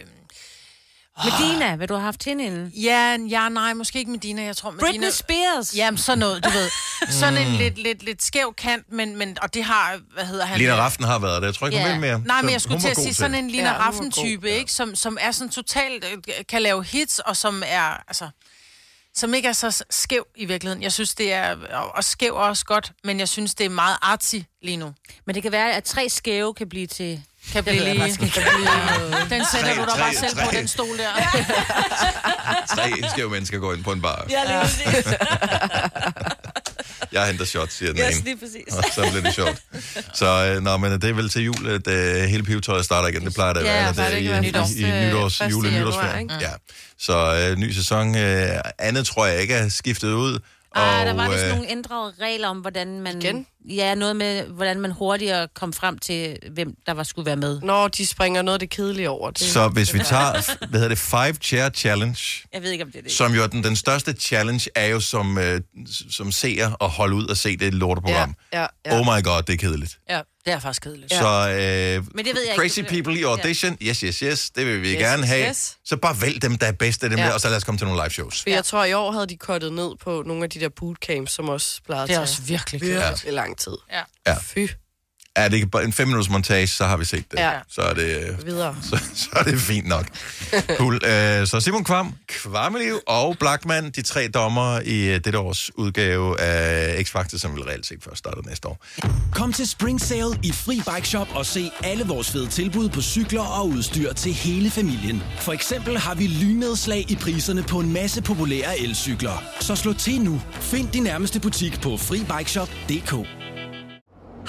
[SPEAKER 3] Medina, hvad du har haft hende inden?
[SPEAKER 2] ja, ja, nej, måske ikke Medina, jeg tror Medina...
[SPEAKER 3] Britney Spears.
[SPEAKER 2] Jamen, sådan noget, du ved. Sådan
[SPEAKER 1] Mm.
[SPEAKER 2] en lidt, lidt, lidt skæv kant, men, men, og det har, hvad hedder han?
[SPEAKER 1] Lina Raften har været der. Jeg tror ikke, hun
[SPEAKER 3] Ja.
[SPEAKER 1] vil mere.
[SPEAKER 2] Nej, men
[SPEAKER 1] Så
[SPEAKER 2] jeg skulle
[SPEAKER 1] hun
[SPEAKER 2] til
[SPEAKER 1] var
[SPEAKER 2] at
[SPEAKER 1] god
[SPEAKER 2] sige sådan en Lina
[SPEAKER 4] Ja, hun
[SPEAKER 2] ja,
[SPEAKER 4] var
[SPEAKER 2] Raffen-type,
[SPEAKER 4] god, ja.
[SPEAKER 2] ikke? Som, som er sådan totalt, øh, kan lave hits, og som er, altså, som ikke er så skæv i virkeligheden. Jeg synes, det er, og og skæv er også godt, men jeg synes, det er meget artsy lige nu.
[SPEAKER 3] Men det kan være, at tre skæve kan blive til...
[SPEAKER 2] Kan blive lige, kan blive noget. Den sætter
[SPEAKER 1] Tre,
[SPEAKER 2] du dig
[SPEAKER 1] tre,
[SPEAKER 2] bare selv på,
[SPEAKER 1] tre.
[SPEAKER 2] den stol der.
[SPEAKER 1] Tre skæve mennesker går ind på en bar.
[SPEAKER 3] Ja, lige præcis.
[SPEAKER 1] Jeg henter shots, siger den ene.
[SPEAKER 3] præcis.
[SPEAKER 1] Og så bliver det sjovt. Så øh, nå, men det er vel til jul, at øh, hele pivetøjet starter igen. Det plejer det at
[SPEAKER 2] Ja,
[SPEAKER 1] være.
[SPEAKER 2] plejer det øh,
[SPEAKER 1] i,
[SPEAKER 2] ikke
[SPEAKER 1] i,
[SPEAKER 2] at være
[SPEAKER 1] i,
[SPEAKER 4] første-
[SPEAKER 1] nytårs,
[SPEAKER 4] første
[SPEAKER 1] jule- og
[SPEAKER 4] januar,
[SPEAKER 1] nytårsferien.
[SPEAKER 4] ikke?
[SPEAKER 1] Ja. Så øh, ny sæson. Øh, andet tror jeg ikke er skiftet ud. Og,
[SPEAKER 3] Ah, der var vist
[SPEAKER 1] øh,
[SPEAKER 3] nogle ændrede regler om, hvordan man...
[SPEAKER 4] Igen?
[SPEAKER 3] Ja, noget med, hvordan man hurtigere kom frem til, hvem der var skulle være med.
[SPEAKER 4] Når de springer noget af det kedelige over. Det.
[SPEAKER 1] Så hvis vi tager, hvad hedder det, Five Chair Challenge,
[SPEAKER 3] Jeg ved ikke, om det er det.
[SPEAKER 1] som jo er den, den største challenge, er jo som, øh, som seer at holde ud og se det lorteprogram.
[SPEAKER 4] Ja, ja, ja.
[SPEAKER 1] Oh my god, det er kedeligt.
[SPEAKER 2] Ja, det er faktisk kedeligt.
[SPEAKER 1] Ja. Så øh,
[SPEAKER 3] Men det ved jeg ikke,
[SPEAKER 1] crazy
[SPEAKER 3] det bliver-
[SPEAKER 1] people i audition, ja. yes, yes, yes, det vil vi yes, gerne
[SPEAKER 4] yes,
[SPEAKER 1] have. Yes.
[SPEAKER 4] yes.
[SPEAKER 1] Så bare vælg dem, der er bedst af dem ja.
[SPEAKER 4] Ja.
[SPEAKER 1] der, og så lad os komme til nogle live shows.
[SPEAKER 4] For jeg tror, i år havde de kottet ned på nogle af de der bootcamps, som også plejede
[SPEAKER 2] Det er
[SPEAKER 4] at
[SPEAKER 2] også
[SPEAKER 4] tage
[SPEAKER 2] virkelig kedeligt.
[SPEAKER 4] virkelig lang tid.
[SPEAKER 2] Ja.
[SPEAKER 1] Ja.
[SPEAKER 4] Fy.
[SPEAKER 1] Er det ikke bare en fem minutters montage, så har vi set det.
[SPEAKER 4] Ja.
[SPEAKER 1] Så, er det øh,
[SPEAKER 4] Videre.
[SPEAKER 1] så, så er det fint nok. Cool. Øh, så Simon Kvam, Kvammeliv og Blackman, de tre dommer i øh, dette års udgave af X-Factor, som vil reelt set først starte næste år.
[SPEAKER 6] Kom til Spring Sale i Fri Bike Shop og se alle vores fede tilbud på cykler og udstyr til hele familien. For eksempel har vi lynedslag i priserne på en masse populære elcykler. Så slå til nu. Find din nærmeste butik på FriBikeShop.dk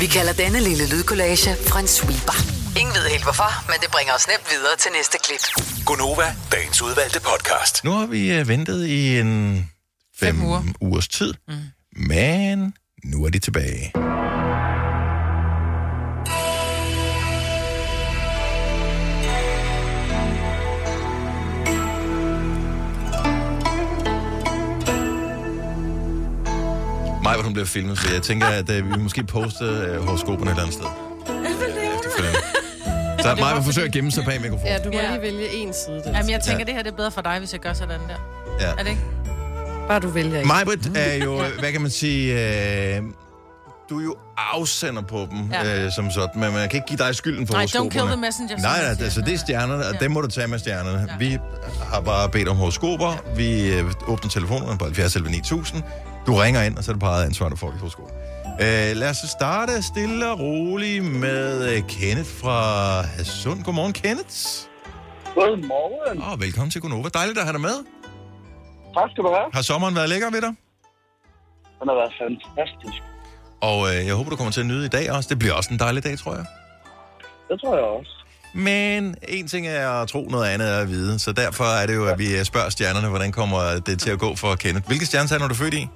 [SPEAKER 5] Vi kalder denne lille lydkollage en sweeper. Ingen ved helt hvorfor, men det bringer os nemt videre til næste klip.
[SPEAKER 7] Gunova, dagens udvalgte podcast.
[SPEAKER 1] Nu har vi øh, ventet i en fem, fem uger. ugers tid, mm. men nu er de tilbage. Mig, hvor hun bliver filmet, så jeg tænker, at øh, vi måske postede øh, horoskoperne et eller andet sted. Så mig vil forsøge at gemme sig bag mikrofonen.
[SPEAKER 4] Ja, du må lige vælge en side. Den.
[SPEAKER 2] Jamen, jeg tænker,
[SPEAKER 1] Ja.
[SPEAKER 2] ja. det her det er bedre for dig, hvis jeg gør sådan der.
[SPEAKER 1] Ja.
[SPEAKER 2] Er det ikke?
[SPEAKER 4] Bare du vælger en.
[SPEAKER 1] Majbrit er jo, hvad kan man sige, øh, du er jo afsender på dem, ja.
[SPEAKER 2] Ja.
[SPEAKER 1] øh, som sådan, men man kan ikke give dig skylden for
[SPEAKER 2] Nej,
[SPEAKER 1] horoskoperne.
[SPEAKER 2] don't kill the messenger, som
[SPEAKER 1] Nej,
[SPEAKER 2] man
[SPEAKER 1] nej,
[SPEAKER 2] siger.
[SPEAKER 1] altså det er stjernerne, og ja. dem må du tage med stjernerne. Ja. Vi har bare bedt om horoskoper, ja. vi øh, åbner telefonerne på 70 11 9000, du ringer ind, og så er det på eget ansvar, du får dit horoskop. Øh, lad os så starte stille og roligt med øh, Kenneth fra Hadsund. Godmorgen, Kenneth. Godmorgen. Og velkommen til Gunova. Dejligt at have dig med.
[SPEAKER 8] Tak skal du have.
[SPEAKER 1] Har sommeren været lækker ved dig?
[SPEAKER 8] Den har været fantastisk.
[SPEAKER 1] Og øh, jeg håber, du kommer til at nyde i dag også. Det bliver også en dejlig dag, tror jeg.
[SPEAKER 8] Det tror jeg også.
[SPEAKER 1] Men en ting er at tro, noget andet er at vide. Så derfor er det jo, at vi øh, spørger stjernerne, hvordan kommer det til at gå for Kenneth. Hvilke stjernetegn er du født i?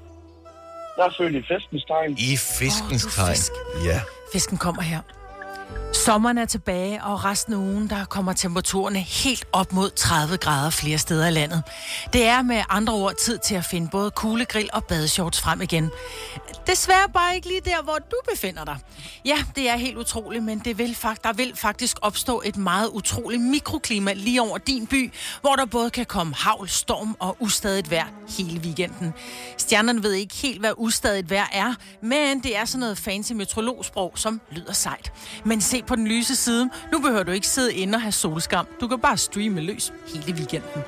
[SPEAKER 8] Jeg er født i festens tegn.
[SPEAKER 1] I fiskens
[SPEAKER 2] Åh, du er
[SPEAKER 1] tegn.
[SPEAKER 2] fisk.
[SPEAKER 1] Ja.
[SPEAKER 2] Fisken kommer her. Sommeren er tilbage, og resten af ugen der kommer temperaturerne helt op mod 30 grader flere steder i landet. Det er med andre ord tid til at finde både kuglegrill og badeshorts frem igen. Desværre bare ikke lige der, hvor du befinder dig. Ja, det er helt utroligt, men det vil, fakt- der vil faktisk opstå et meget utroligt mikroklima lige over din by, hvor der både kan komme havl, storm og ustadigt vejr hele weekenden. Stjernerne ved ikke helt, hvad ustadigt vejr er, men det er sådan noget fancy metrologsprog, som lyder sejt. Men se på den lyse side. Nu behøver du ikke sidde inde og have solskam. Du kan bare streame løs hele weekenden.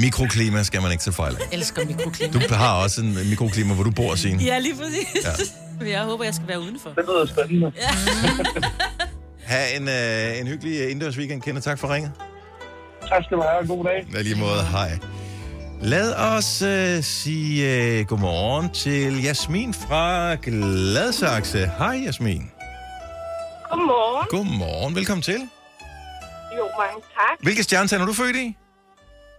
[SPEAKER 1] Mikroklima skal man ikke tage fejl af.
[SPEAKER 2] Elsker mikroklima.
[SPEAKER 1] Du har også en øh, mikroklima, hvor du bor, Signe.
[SPEAKER 3] Ja, lige præcis.
[SPEAKER 1] Ja.
[SPEAKER 3] Ja. Men jeg håber, jeg skal være udenfor.
[SPEAKER 8] Det lyder spændende.
[SPEAKER 3] Ja.
[SPEAKER 1] Ha' en, øh, en hyggelig øh, indendørs weekend, Kenneth. Tak for ringet.
[SPEAKER 8] Tak skal du have. God dag.
[SPEAKER 1] Ja, lige måde. Hej. Lad os øh, sige øh, godmorgen til Jasmin fra Gladsaxe. Hej, Jasmin.
[SPEAKER 9] Godmorgen.
[SPEAKER 1] Godmorgen. Velkommen til.
[SPEAKER 9] Jo, mange tak.
[SPEAKER 1] Hvilke stjernetegn er du født i?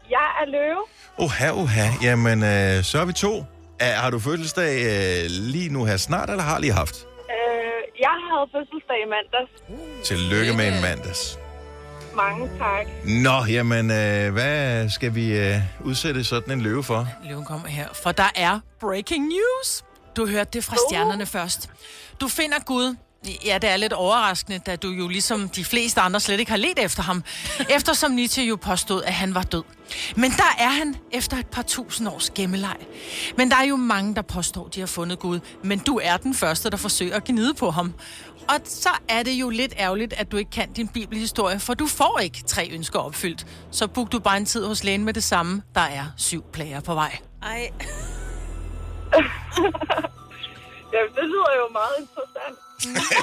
[SPEAKER 9] Jeg er løve.
[SPEAKER 1] Oha, oha. Jamen, øh, så er vi to. Er, har du fødselsdag øh, lige nu her snart, eller har lige haft?
[SPEAKER 9] Øh, jeg havde fødselsdag i mandags.
[SPEAKER 1] Tillykke med en mandags.
[SPEAKER 9] Mange tak.
[SPEAKER 1] Nå, jamen, øh, hvad skal vi øh, udsætte sådan en løve for?
[SPEAKER 2] Løven kommer her, for der er breaking news. Du hørte det fra stjernerne først. Du finder Gud. Ja, det er lidt overraskende, da du jo ligesom de fleste andre slet ikke har let efter ham, eftersom Nietzsche jo påstod, at han var død. Men der er han efter et par tusind års gemmeleg. Men der er jo mange, der påstår, de har fundet Gud, men du er den første, der forsøger at gnide på ham. Og så er det jo lidt ærgerligt, at du ikke kan din bibelhistorie, for du får ikke tre ønsker opfyldt. Så book du bare en tid hos lægen med det samme. Der er syv plager på vej.
[SPEAKER 3] Ej.
[SPEAKER 9] Ja, det lyder jo meget interessant.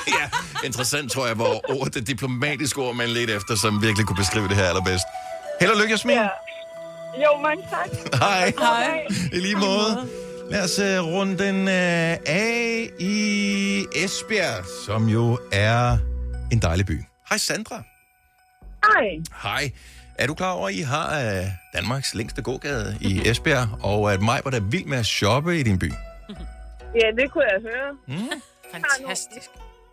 [SPEAKER 1] ja, interessant tror jeg var ord, det diplomatiske ord, man ledte efter, som virkelig kunne beskrive det her allerbedst. Held og lykke, Jasmin. Ja.
[SPEAKER 9] Jo, mange tak.
[SPEAKER 1] Hej. I lige måde. Lad os øh, runde den øh, af i Esbjerg, som jo er en dejlig by. Hej Sandra.
[SPEAKER 10] Hej.
[SPEAKER 1] Hej. Er du klar over, at I har øh, Danmarks længste gågade i Esbjerg, og at mig var der vild med at shoppe i din by?
[SPEAKER 10] Ja, det kunne jeg høre.
[SPEAKER 1] Mm.
[SPEAKER 10] Fantastisk.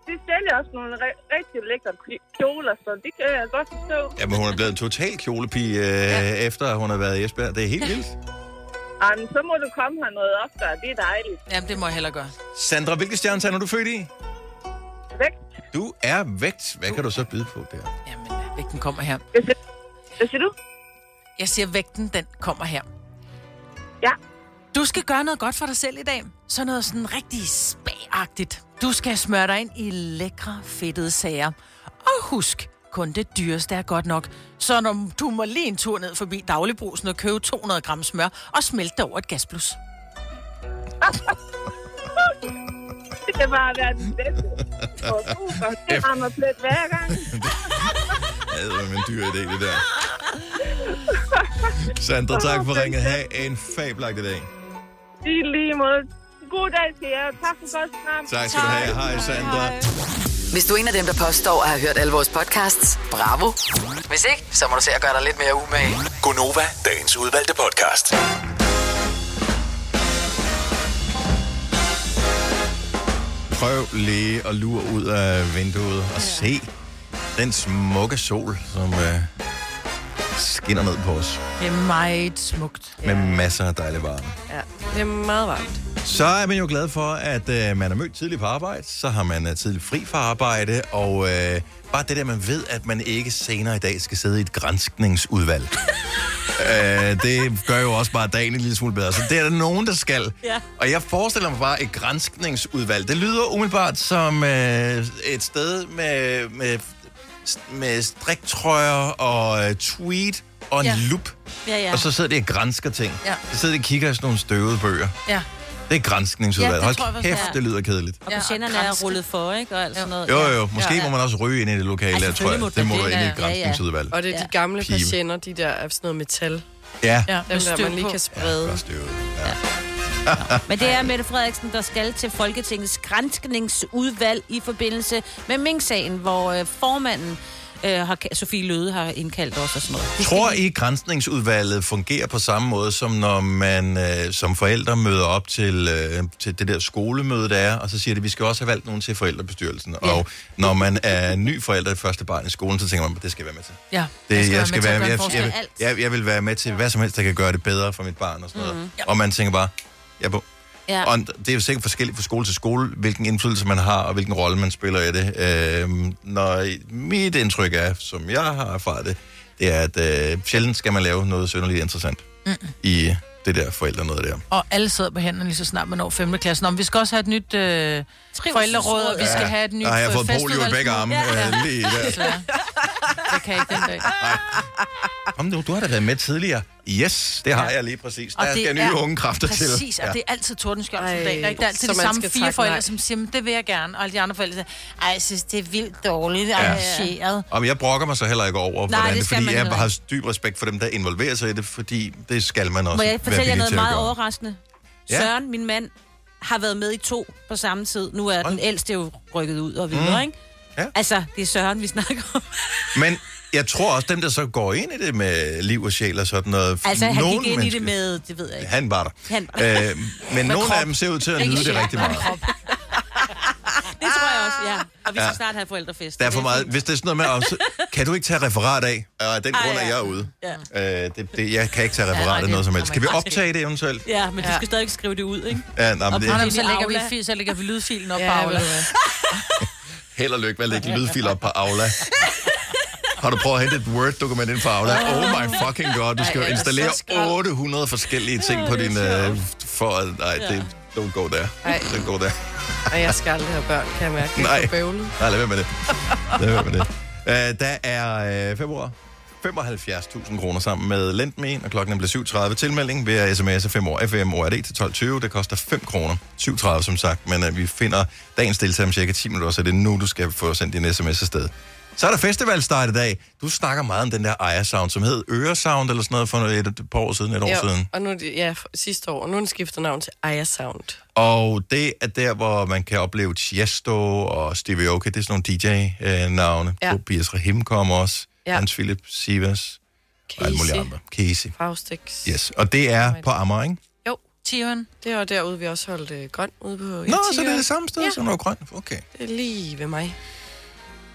[SPEAKER 10] De sælger også nogle re- rigtig lækre kli- kjoler, så det kan jeg godt forstå.
[SPEAKER 1] Jamen, hun er blevet en total kjolepige, øh, ja. efter at hun har været i Esbjerg. Det er helt vildt.
[SPEAKER 10] Jamen, så må du komme her noget oftere. Det er dejligt.
[SPEAKER 2] Jamen, det må jeg heller gøre.
[SPEAKER 1] Sandra, hvilke stjernetegn er du født i?
[SPEAKER 10] Vægt.
[SPEAKER 1] Du er vægt. Hvad kan du så byde på der?
[SPEAKER 2] Vægten kommer her.
[SPEAKER 10] Hvad siger du?
[SPEAKER 2] Jeg siger, vægten, den kommer her.
[SPEAKER 10] Ja.
[SPEAKER 2] Du skal gøre noget godt for dig selv i dag. Sådan noget sådan rigtig spagagtigt. Du skal smøre dig ind i lækre, fedtede sager. Og husk, kun det dyreste er godt nok. Så når du må lige en tur ned forbi dagligbrusen og købe 200 gram smør og smelte det over et gasplus.
[SPEAKER 10] Det kan bare være den bedste. Og super. Det rammer plet hver gang.
[SPEAKER 1] Ja, det var en dyr idé, det der. Sandra, tak for ringet. Ha' en fabelagtig dag.
[SPEAKER 10] I lige måde. God dag til jer. Tak for godt program.
[SPEAKER 1] Tak skal du have. Hej, Sandra.
[SPEAKER 5] Hvis du er en af dem, der påstår at have hørt alle vores podcasts, bravo. Hvis ikke, så må du se at gøre dig lidt mere umage.
[SPEAKER 7] Gonova, dagens udvalgte podcast.
[SPEAKER 1] Prøv lige at lure ud af vinduet og se den smukke sol, som øh, skinner ned på os
[SPEAKER 2] Det er meget smukt.
[SPEAKER 1] med masser af dejlig varme.
[SPEAKER 4] Ja, det er meget varmt.
[SPEAKER 1] Så er man jo glad for, at øh, man er mødt tidligt på arbejde, så har man øh, tidligt fri fra arbejde, og øh, bare det der, man ved, at man ikke senere i dag skal sidde i et grænskningsudvalg. øh, det gør jo også bare dagen en lille smule bedre, så det er der nogen, der skal.
[SPEAKER 11] Ja.
[SPEAKER 1] Og jeg forestiller mig bare et grænskningsudvalg. Det lyder umiddelbart som øh, et sted med, med, med striktrøjer og øh, tweet og en
[SPEAKER 2] Ja.
[SPEAKER 1] ja. loop.
[SPEAKER 2] Ja, ja.
[SPEAKER 1] Og så sidder de og grænsker ting.
[SPEAKER 2] Ja.
[SPEAKER 1] Så sidder de og kigger i sådan nogle støvede bøger.
[SPEAKER 2] Ja.
[SPEAKER 1] Det er grænskningsudvalg.
[SPEAKER 3] Ja,
[SPEAKER 1] Ja,
[SPEAKER 3] det tror jeg
[SPEAKER 1] Hold
[SPEAKER 3] faktisk, det
[SPEAKER 1] kæft,
[SPEAKER 3] er.
[SPEAKER 1] det lyder kedeligt.
[SPEAKER 3] Og patienterne er rullet for, ikke? Og alt sådan noget.
[SPEAKER 1] Jo, jo, måske ja, ja. må man også ryge ind i det lokale,
[SPEAKER 4] Ej,
[SPEAKER 1] altså, tror jeg.
[SPEAKER 4] selvfølgelig må
[SPEAKER 1] Det må
[SPEAKER 4] man
[SPEAKER 1] du
[SPEAKER 4] det,
[SPEAKER 1] ind i
[SPEAKER 4] ja,
[SPEAKER 1] et grænskningsudvalg.
[SPEAKER 4] Og det er de gamle
[SPEAKER 1] Pibe.
[SPEAKER 4] patienter, de der af sådan noget metal.
[SPEAKER 1] Ja.
[SPEAKER 4] Dem
[SPEAKER 3] med
[SPEAKER 4] der,
[SPEAKER 3] støv
[SPEAKER 4] man lige
[SPEAKER 3] på.
[SPEAKER 4] kan sprede. Ja,
[SPEAKER 3] Men det er Mette Frederiksen, der skal til Folketingets grænskningsudvalg i forbindelse med Mink-sagen, hvor øh, formanden, øh, har, Sofie Løde, har indkaldt os og sådan noget. Det skal
[SPEAKER 1] Tror
[SPEAKER 3] vi-
[SPEAKER 1] I, grænsningsudvalget fungerer på samme måde, som når man øh, som forældre møder op til, øh, til det der skolemøde, der er, og så siger de, vi skal også have valgt nogen til forældrebestyrelsen. Ja. Og når man er ny forælder i første barn i skolen, så tænker man, det skal jeg være med til.
[SPEAKER 2] Ja.
[SPEAKER 1] Det, jeg, skal være,
[SPEAKER 2] med
[SPEAKER 1] jeg,
[SPEAKER 2] til at
[SPEAKER 1] jeg,
[SPEAKER 2] gøre en
[SPEAKER 1] jeg,
[SPEAKER 2] forskel.
[SPEAKER 1] jeg, jeg vil være med til hvad som helst, der kan gøre det bedre for mit barn og sådan noget.
[SPEAKER 2] Mhm.
[SPEAKER 1] Mm. Og man tænker bare, jeg er på.
[SPEAKER 3] Ja.
[SPEAKER 1] Og det er jo sikkert forskelligt fra skole til skole, hvilken indflydelse man har, og hvilken rolle man spiller i det. Øhm, når mit indtryk er, som jeg har erfaret det, det er, at øh, sjældent skal man lave noget synderligt interessant
[SPEAKER 2] Mm.
[SPEAKER 1] i det der forældre noget der.
[SPEAKER 2] Og alle sidder på hænderne lige så snart man når 5. klassen. Om vi skal også have et nyt øh, forældreråd, og vi skal
[SPEAKER 1] Ja,
[SPEAKER 2] have et nyt
[SPEAKER 1] der har jeg
[SPEAKER 2] øh,
[SPEAKER 1] fået polio i
[SPEAKER 2] festudvalgsmøde.
[SPEAKER 1] begge arme. Ja. Øh, lige der.
[SPEAKER 2] Desværre. Det kan jeg ikke den dag.
[SPEAKER 1] Kom nu, du har da været med tidligere. Yes, det har jeg lige præcis. Der skal nye unge kræfter
[SPEAKER 2] præcis,
[SPEAKER 1] til.
[SPEAKER 2] Præcis, og
[SPEAKER 1] Ja.
[SPEAKER 2] det er altid tordenskjold som
[SPEAKER 3] Ej,
[SPEAKER 2] dag. Der er ikke der er altid
[SPEAKER 3] så
[SPEAKER 2] de
[SPEAKER 3] man
[SPEAKER 2] samme
[SPEAKER 3] skal
[SPEAKER 2] fire
[SPEAKER 3] takke
[SPEAKER 2] forældre,
[SPEAKER 3] nej.
[SPEAKER 2] som siger, "Men det vil jeg gerne. Og alle de andre forældre siger, ej, jeg synes, det er vildt dårligt
[SPEAKER 1] Ja.
[SPEAKER 2] arrangeret.
[SPEAKER 1] Og jeg brokker mig så heller ikke over,
[SPEAKER 2] Nej,
[SPEAKER 1] hvordan
[SPEAKER 2] det
[SPEAKER 1] det,
[SPEAKER 2] skal
[SPEAKER 1] fordi
[SPEAKER 2] man
[SPEAKER 1] jeg
[SPEAKER 2] heller
[SPEAKER 1] har dyb respekt for dem, der involverer sig i det, fordi det skal man også
[SPEAKER 3] Må jeg
[SPEAKER 1] være
[SPEAKER 3] fortælle jer
[SPEAKER 1] villig
[SPEAKER 3] noget
[SPEAKER 1] til at
[SPEAKER 3] meget
[SPEAKER 1] gøre.
[SPEAKER 3] overraskende?
[SPEAKER 1] Ja.
[SPEAKER 3] Søren, min mand, har været med i to på samme tid. Nu er den ældste jo rykket ud og videre,
[SPEAKER 1] Mm.
[SPEAKER 3] ikke? Altså, det er Søren, vi snakker om.
[SPEAKER 1] Men jeg tror også, dem, der så går ind i det med liv og sjæl og sådan noget...
[SPEAKER 3] Altså, han
[SPEAKER 1] nogle
[SPEAKER 3] gik ind i
[SPEAKER 1] mennesker-
[SPEAKER 3] det med, det ved jeg ikke.
[SPEAKER 1] Han var der.
[SPEAKER 3] Han var der.
[SPEAKER 1] Øh, men
[SPEAKER 3] Med
[SPEAKER 1] nogle
[SPEAKER 3] krop.
[SPEAKER 1] af dem ser ud til at
[SPEAKER 3] Ikke
[SPEAKER 1] nyde det
[SPEAKER 3] sjæl,
[SPEAKER 1] rigtig
[SPEAKER 3] men
[SPEAKER 1] meget.
[SPEAKER 3] krop. det tror jeg også, ja. Og vi skal
[SPEAKER 1] Ja.
[SPEAKER 3] snart have forældrefest.
[SPEAKER 1] Der er for meget... Hvis det er sådan noget med... "Åh, så Kan du ikke tage referat af? Og af den
[SPEAKER 3] Ej,
[SPEAKER 1] grund er
[SPEAKER 3] ja.
[SPEAKER 1] jeg ude.
[SPEAKER 3] Ja.
[SPEAKER 1] Øh, det, det, jeg kan ikke tage
[SPEAKER 3] Ja, nej,
[SPEAKER 1] referat af
[SPEAKER 3] det
[SPEAKER 1] noget som
[SPEAKER 3] kommer
[SPEAKER 1] helst. Kan vi
[SPEAKER 3] ikke til.
[SPEAKER 1] optage det eventuelt?
[SPEAKER 3] Ja, men du skal stadig skrive det ud, ikke?
[SPEAKER 1] Ja, nej,
[SPEAKER 2] Og
[SPEAKER 1] men det,
[SPEAKER 2] så lægger, vi, fi- så lægger vi lydfilen op på Aula.
[SPEAKER 1] Held og lykke med at lægge lydfiler op på Aula. Har du prøvet at hente et Word-dokument ind fra Aula? Oh my fucking god, du skal jo
[SPEAKER 7] Ah. Ej, ellers så
[SPEAKER 1] installere
[SPEAKER 7] skal-
[SPEAKER 1] 800 forskellige ting på din... Øh, for at... Nej,
[SPEAKER 4] Ja.
[SPEAKER 1] det... Don't go there.
[SPEAKER 4] Ej.
[SPEAKER 1] Don't go there.
[SPEAKER 4] Og jeg skal aldrig have børn, kan jeg mærke. Det er
[SPEAKER 1] Nej.
[SPEAKER 4] for bøvlet.
[SPEAKER 1] Nej, lad være med det. Lad være med det. Uh, der er øh, februar. 75.000 kroner sammen med Lendme, og klokken er blevet 7.30. Tilmelding ved at sms'e 5 år FM ORD til 12.20. Det koster 5 kroner. 7.30 som sagt, men øh, vi finder dagens deltager om cirka 10 minutter, så det er nu, du skal få sendt din sms afsted. Så er der festivalstart i dag. Du snakker meget om den der ejersound, som hed Øresound eller sådan noget for et, et par år siden, et år
[SPEAKER 4] ja,
[SPEAKER 1] siden.
[SPEAKER 4] Og nu, er det- ja, for- sidste år. Og nu er den skiftet navn til Aya Sound.
[SPEAKER 1] Og det er der, hvor man kan opleve Tiesto og Stevie Aoki. Det er sådan nogle DJ-navne.
[SPEAKER 4] Ja.
[SPEAKER 1] Ja. Tobias Rahim kommer også.
[SPEAKER 4] Ja.
[SPEAKER 1] Ja. Hans Philip Sivas. Og alle mulige
[SPEAKER 4] Casey.
[SPEAKER 1] andre. Casey.
[SPEAKER 4] Faustix.
[SPEAKER 1] Yes. Og det er på Amager, ikke?
[SPEAKER 4] Jo. Tion. Det var derude, vi også holdt øh, grøn ude på
[SPEAKER 1] Nå, så det er det samme sted, ja. som noget grønt. Okay.
[SPEAKER 4] Det er lige ved mig.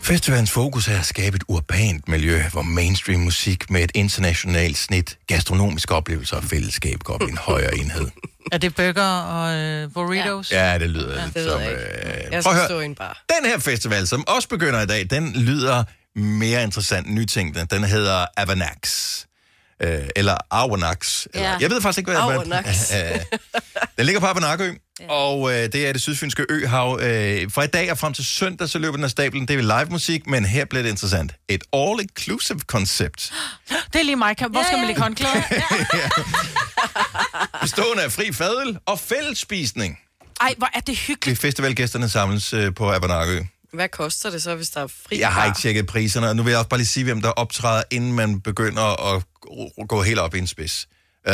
[SPEAKER 1] Festivalens fokus er at skabe et urbant miljø, hvor mainstream musik med et internationalt snit, gastronomiske oplevelser og fællesskab går op i en højere enhed.
[SPEAKER 2] Er det burger og øh, burritos?
[SPEAKER 1] Ja, det lyder ja,
[SPEAKER 2] det
[SPEAKER 1] lidt
[SPEAKER 2] ved
[SPEAKER 1] som...
[SPEAKER 2] jeg
[SPEAKER 1] Øh,
[SPEAKER 2] ikke.
[SPEAKER 1] prøv
[SPEAKER 2] Jeg
[SPEAKER 1] at
[SPEAKER 2] skal
[SPEAKER 1] høre.
[SPEAKER 2] stå i en bar.
[SPEAKER 1] Den her festival, som også begynder i dag, den lyder mere interessant nytænkende. Den hedder Avanax. Øh, eller Arvanax.
[SPEAKER 11] Ja.
[SPEAKER 1] Eller, jeg ved faktisk ikke, hvad
[SPEAKER 11] Arvanax.
[SPEAKER 1] det er. Den ligger på Abenakø, ja. og øh, det er det sydfynske øhav. Øh, fra i dag og frem til søndag, så løber den af stablen. Det er live musik, men her bliver det interessant. Et all-inclusive koncept.
[SPEAKER 2] Det er lige mig. Kan- Hvor skal man lægge håndklæder?
[SPEAKER 1] bestående af fri fadel og fællesspisning.
[SPEAKER 2] Ej, hvor er det hyggeligt.
[SPEAKER 1] Det er festivalgæsterne samles øh, på Abenakø.
[SPEAKER 4] Hvad koster det så, hvis der er fri
[SPEAKER 1] Jeg har
[SPEAKER 4] bar?
[SPEAKER 1] ikke tjekket priserne, og nu vil jeg også bare lige sige, hvem der optræder, inden man begynder at gå- gå helt op i en spids. Uh,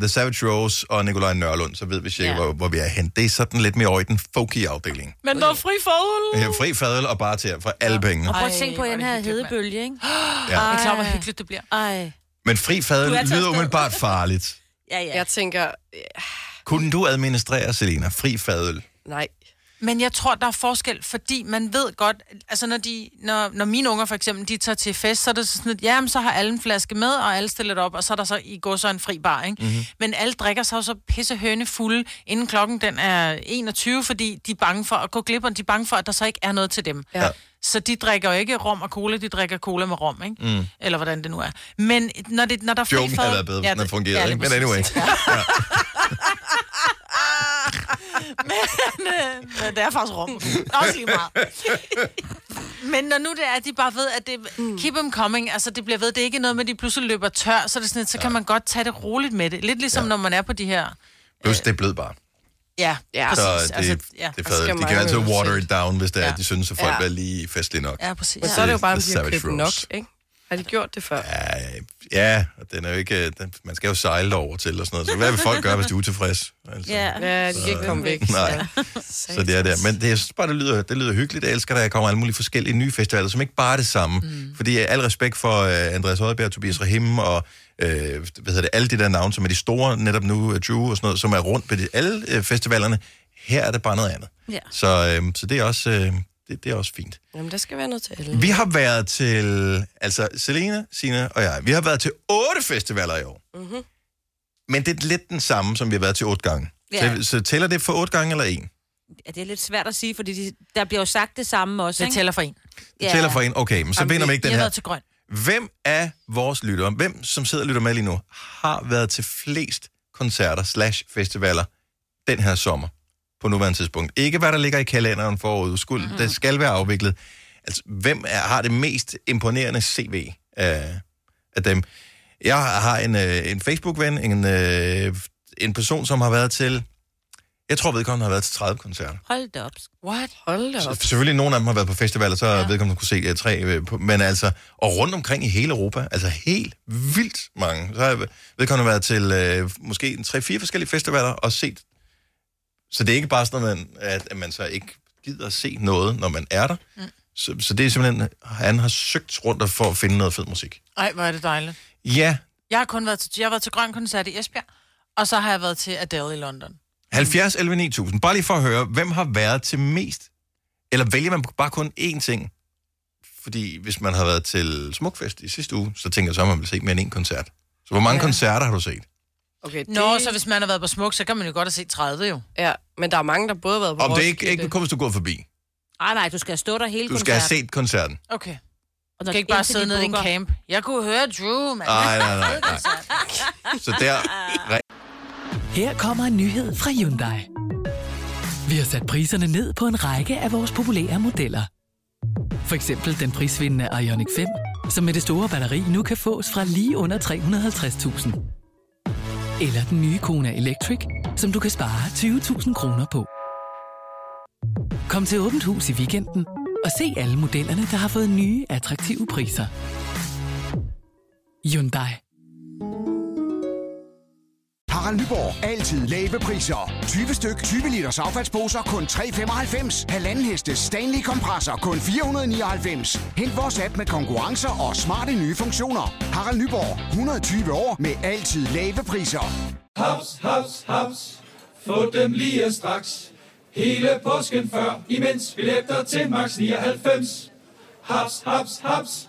[SPEAKER 1] The Savage Rose og Nikolaj Nørlund, så ved vi cirka,
[SPEAKER 2] Ja.
[SPEAKER 1] ja. hvor, hvor vi er hen. Det er sådan lidt mere over i den folky afdeling.
[SPEAKER 2] Men der er fri forhold.
[SPEAKER 1] Ja, fri fadel og bare til for alle pengene.
[SPEAKER 3] Og prøv at tænke på den her hedebølge, ikke?
[SPEAKER 1] Ja.
[SPEAKER 3] Ej.
[SPEAKER 1] Er I klar,
[SPEAKER 2] hvor hyggeligt det bliver?
[SPEAKER 3] Ej.
[SPEAKER 1] Men fri
[SPEAKER 3] Du er
[SPEAKER 1] fadel
[SPEAKER 3] taget
[SPEAKER 1] lyder
[SPEAKER 3] afsted.
[SPEAKER 1] umiddelbart farligt.
[SPEAKER 3] Ja, ja.
[SPEAKER 4] Jeg tænker,
[SPEAKER 1] Kunne du administrere, Selina, fri fadel?
[SPEAKER 4] nej.
[SPEAKER 2] Men jeg tror, der er forskel, fordi man ved godt, altså når, de, når, når mine unger for eksempel, de tager til fest, så er det sådan, at jamen, så har alle en flaske med, og alle stiller det op, og så er der så i går så en fri bar, ikke?
[SPEAKER 1] Mhm.
[SPEAKER 2] Mm-hmm. Men alle drikker sig jo så pissehøne fulde, inden klokken den er 21, fordi de er bange for at gå glip, og de er bange for, at der så ikke er noget til dem.
[SPEAKER 4] Ja.
[SPEAKER 2] Så de drikker jo ikke rom og cola, de drikker cola med rom, ikke? Mm. Eller hvordan det nu er. Men når, det, når der er fri
[SPEAKER 1] Joken havde
[SPEAKER 2] fadel-
[SPEAKER 1] været bedre, hvis den havde
[SPEAKER 2] det-
[SPEAKER 1] fungeret,
[SPEAKER 2] lige
[SPEAKER 1] ikke? Men
[SPEAKER 2] præcis.
[SPEAKER 1] anyway.
[SPEAKER 2] Men, øh, men det er faktisk rum. Også lige meget. Men når nu det er, at de bare ved, at det keep them coming, altså det bliver ved, det er ikke noget med, at de pludselig løber tør, så, er det sådan, lidt, så kan man godt tage det roligt med det. Lidt ligesom ja. når man er på de her...
[SPEAKER 1] Plus, det er blød bare.
[SPEAKER 2] Ja, ja. præcis.
[SPEAKER 1] så det,
[SPEAKER 2] altså, ja.
[SPEAKER 1] ja. det er fadel. De kan altid water it down, hvis det er, at de synes, at folk
[SPEAKER 4] Ja.
[SPEAKER 1] er lige festlige nok.
[SPEAKER 2] Ja, præcis.
[SPEAKER 4] Men så er det jo bare, om
[SPEAKER 1] The
[SPEAKER 4] de har
[SPEAKER 1] Savage
[SPEAKER 4] købt
[SPEAKER 1] Rose.
[SPEAKER 4] nok, ikke? Har de gjort det før? Ja.
[SPEAKER 1] Ja, og den er jo ikke, den, man skal jo sejle over til og sådan noget. Så hvad vil folk gøre, hvis de er utilfredse? Altså,
[SPEAKER 4] ja de kan ikke komme væk.
[SPEAKER 1] Nej, så det er der. Men det, jeg synes bare, det lyder, det lyder hyggeligt. Jeg elsker, at der kommer alle mulige forskellige nye festivaler, som ikke bare er det samme. Mm. Fordi øh, al respekt for uh, Andreas Højbjerg, Tobias Rahim og øh, hvad hedder det, alle de der navne, som er de store netop nu, uh, Drew og sådan noget, som er rundt på de, alle øh, festivalerne. Her er det bare noget andet.
[SPEAKER 4] Ja.
[SPEAKER 1] Så, øh, så det, er også, øh, det, det er også fint.
[SPEAKER 4] Jamen, der skal være noget til
[SPEAKER 3] Mm.
[SPEAKER 4] alle.
[SPEAKER 1] Vi har været til, altså Selena, Sina og jeg, vi har været til otte festivaler i år.
[SPEAKER 3] Mhm.
[SPEAKER 4] Mm-hmm.
[SPEAKER 1] Men det er lidt den samme, som vi har været til otte gange.
[SPEAKER 3] Ja.
[SPEAKER 1] Så, så tæller det for otte gange eller en?
[SPEAKER 3] Ja, det er lidt svært at sige, fordi de, der bliver jo sagt det samme også,
[SPEAKER 2] Det tæller for en.
[SPEAKER 1] Det tæller for en. Okay, men så
[SPEAKER 3] Jamen, vi-
[SPEAKER 1] vinder man ikke
[SPEAKER 3] vi
[SPEAKER 1] den
[SPEAKER 3] har
[SPEAKER 1] her.
[SPEAKER 3] været til grøn.
[SPEAKER 1] Hvem af vores lyttere, hvem som sidder og lytter med lige nu, har været til flest koncerter slash festivaler den her sommer på nuværende tidspunkt? Ikke hvad der ligger i kalenderen forud. Skulle, mm-hmm. Det skal være afviklet. Altså, hvem er, har det mest imponerende CV af, af dem? Jeg har en, øh, en Facebook-ven, en, øh, en person, som har været til... Jeg tror, vedkommende har været til 30 koncerter.
[SPEAKER 3] Hold da op.
[SPEAKER 2] What?
[SPEAKER 4] Hold da op.
[SPEAKER 1] Så Selvfølgelig nogle af dem har været på festivaler, så ja. vedkommende kunne se ja, tre, øh, på- men altså, og rundt omkring i hele Europa, altså helt vildt mange. Så har jeg vedkommende været til øh, måske en tre-fire forskellige festivaler og set. Så det er ikke bare sådan, at man, at, at man så ikke gider at se noget, når man er der. Mm. Så, så det er simpelthen, han har søgt rundt og for at finde noget fed musik.
[SPEAKER 2] Ej, hvor er det dejligt.
[SPEAKER 1] Ja,
[SPEAKER 2] Jeg har kun været til, jeg har været til grøn koncert i Esbjerg, og så har jeg været til Adele i London.
[SPEAKER 1] 70 11 9000. Bare lige for at høre, hvem har været til mest? Eller vælger man bare kun én ting? Fordi hvis man har været til Smukfest i sidste uge, så tænker jeg så, at man vil se mere end én koncert. Så hvor mange ja. koncerter har du set?
[SPEAKER 4] Okay, det...
[SPEAKER 2] Nå, så hvis man har været på smuk, så kan man jo godt have set 30 jo.
[SPEAKER 4] Ja, men der er mange, der både har været
[SPEAKER 1] Om det er ikke, ikke kun, hvis du går forbi.
[SPEAKER 3] Ej, nej, du skal stå der hele
[SPEAKER 1] Du skal have set koncerten.
[SPEAKER 2] Okay.
[SPEAKER 3] Og
[SPEAKER 2] Du skal ikke bare sidde nede i en camp. Jeg kunne høre Drew, mand.
[SPEAKER 1] Ej, nej, nej, nej. Så der...
[SPEAKER 12] Her kommer en nyhed fra Hyundai. Vi har sat priserne ned på en række af vores populære modeller. For eksempel den prisvindende Ioniq 5, som med det store batteri nu kan fås fra lige under 350.000. Eller den nye Kona Electric, som du kan spare 20.000 kroner på. Kom til Åbent Hus i weekenden og se alle modellerne, der har fået nye, attraktive priser. Hyundai.
[SPEAKER 11] Harald Nyborg. Altid lave priser. 20 styk, 20 liters affaldsposer kun 3,95. Halvanden heste Stanley kompresser kun 499. Hent vores app med konkurrencer og smarte nye funktioner. Harald Nyborg. 120 år med altid lave priser.
[SPEAKER 13] Haps, haps, haps. Få dem lige straks. Hele påsken før, imens billetter til max 99. Haps, haps, haps.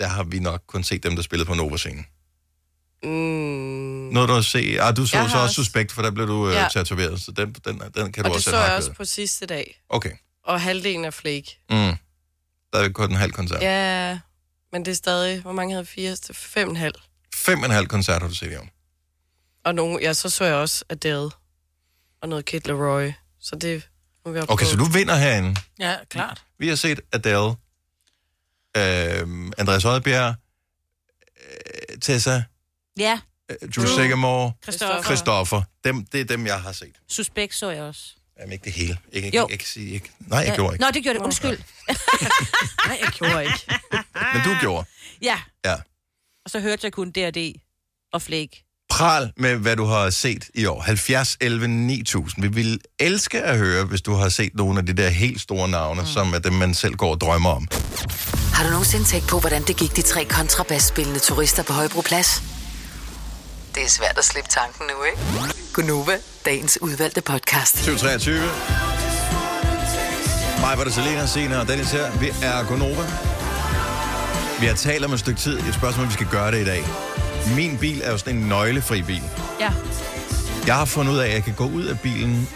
[SPEAKER 1] der har vi nok kun set dem, der spillede på en operascene.
[SPEAKER 4] Mm.
[SPEAKER 1] Når du har set... Ah, du så,
[SPEAKER 4] Jeg
[SPEAKER 1] så
[SPEAKER 4] har
[SPEAKER 1] også Suspekt, for der blev du øh,
[SPEAKER 4] Ja.
[SPEAKER 1] tatoveret, så den, den, den
[SPEAKER 4] og
[SPEAKER 1] kan du
[SPEAKER 4] det så
[SPEAKER 1] også have
[SPEAKER 4] jeg
[SPEAKER 1] hakket.
[SPEAKER 4] også på sidste dag.
[SPEAKER 1] Okay.
[SPEAKER 4] Og halvdelen af flake.
[SPEAKER 1] Mm. Der er kun en halv koncert. Ja.
[SPEAKER 4] Ja. ja, men det er stadig... Hvor mange havde fire? Fem og en halv.
[SPEAKER 1] Fem og en halv koncert har du set i år.
[SPEAKER 4] Og nogle, ja, så så jeg også Adele. Og noget Kid Leroy. Så det... Nu er vi oppe
[SPEAKER 1] Okay,
[SPEAKER 4] på.
[SPEAKER 1] så du vinder herinde.
[SPEAKER 2] Ja, klart.
[SPEAKER 1] Vi har set Adele, øh, Andreas Oddbjerg, øh, Tessa,
[SPEAKER 3] Ja,
[SPEAKER 1] øh, Drew Sigamore,
[SPEAKER 3] Christoffer.
[SPEAKER 1] Christoffer. Dem, det er dem, jeg har set.
[SPEAKER 3] suspekt så jeg også.
[SPEAKER 1] Jamen ikke det hele. Ikke, ikke,
[SPEAKER 3] Jo.
[SPEAKER 1] ikke, ikke, sige- ikke. Nej, jeg
[SPEAKER 3] Ja.
[SPEAKER 1] gjorde ikke.
[SPEAKER 3] Nå, det gjorde det. Undskyld. Nej, jeg gjorde ikke.
[SPEAKER 1] Men du gjorde.
[SPEAKER 3] Ja.
[SPEAKER 1] Ja.
[SPEAKER 3] Og så hørte jeg kun D&D og Flake.
[SPEAKER 1] Pral med, hvad du har set i år. 70, 11, 9000. Vi vil elske at høre, hvis du har set nogle af de der helt store navne, mm. som er dem, man selv går og drømmer om.
[SPEAKER 5] Har du nogensinde tænkt på, hvordan det gik de tre kontrabasspillende turister på Højbroplads? Det er svært at slippe tanken nu, ikke? Gunova, dagens udvalgte podcast.
[SPEAKER 1] 2023. Mig var det Selena, Sina og Dennis her. Vi er Gonova. Vi har talt om et stykke tid. Et spørgsmål, om vi skal gøre det i dag. Min bil er jo sådan en nøglefri bil.
[SPEAKER 3] Ja.
[SPEAKER 1] Jeg har fundet ud af, at jeg kan gå ud af bilen,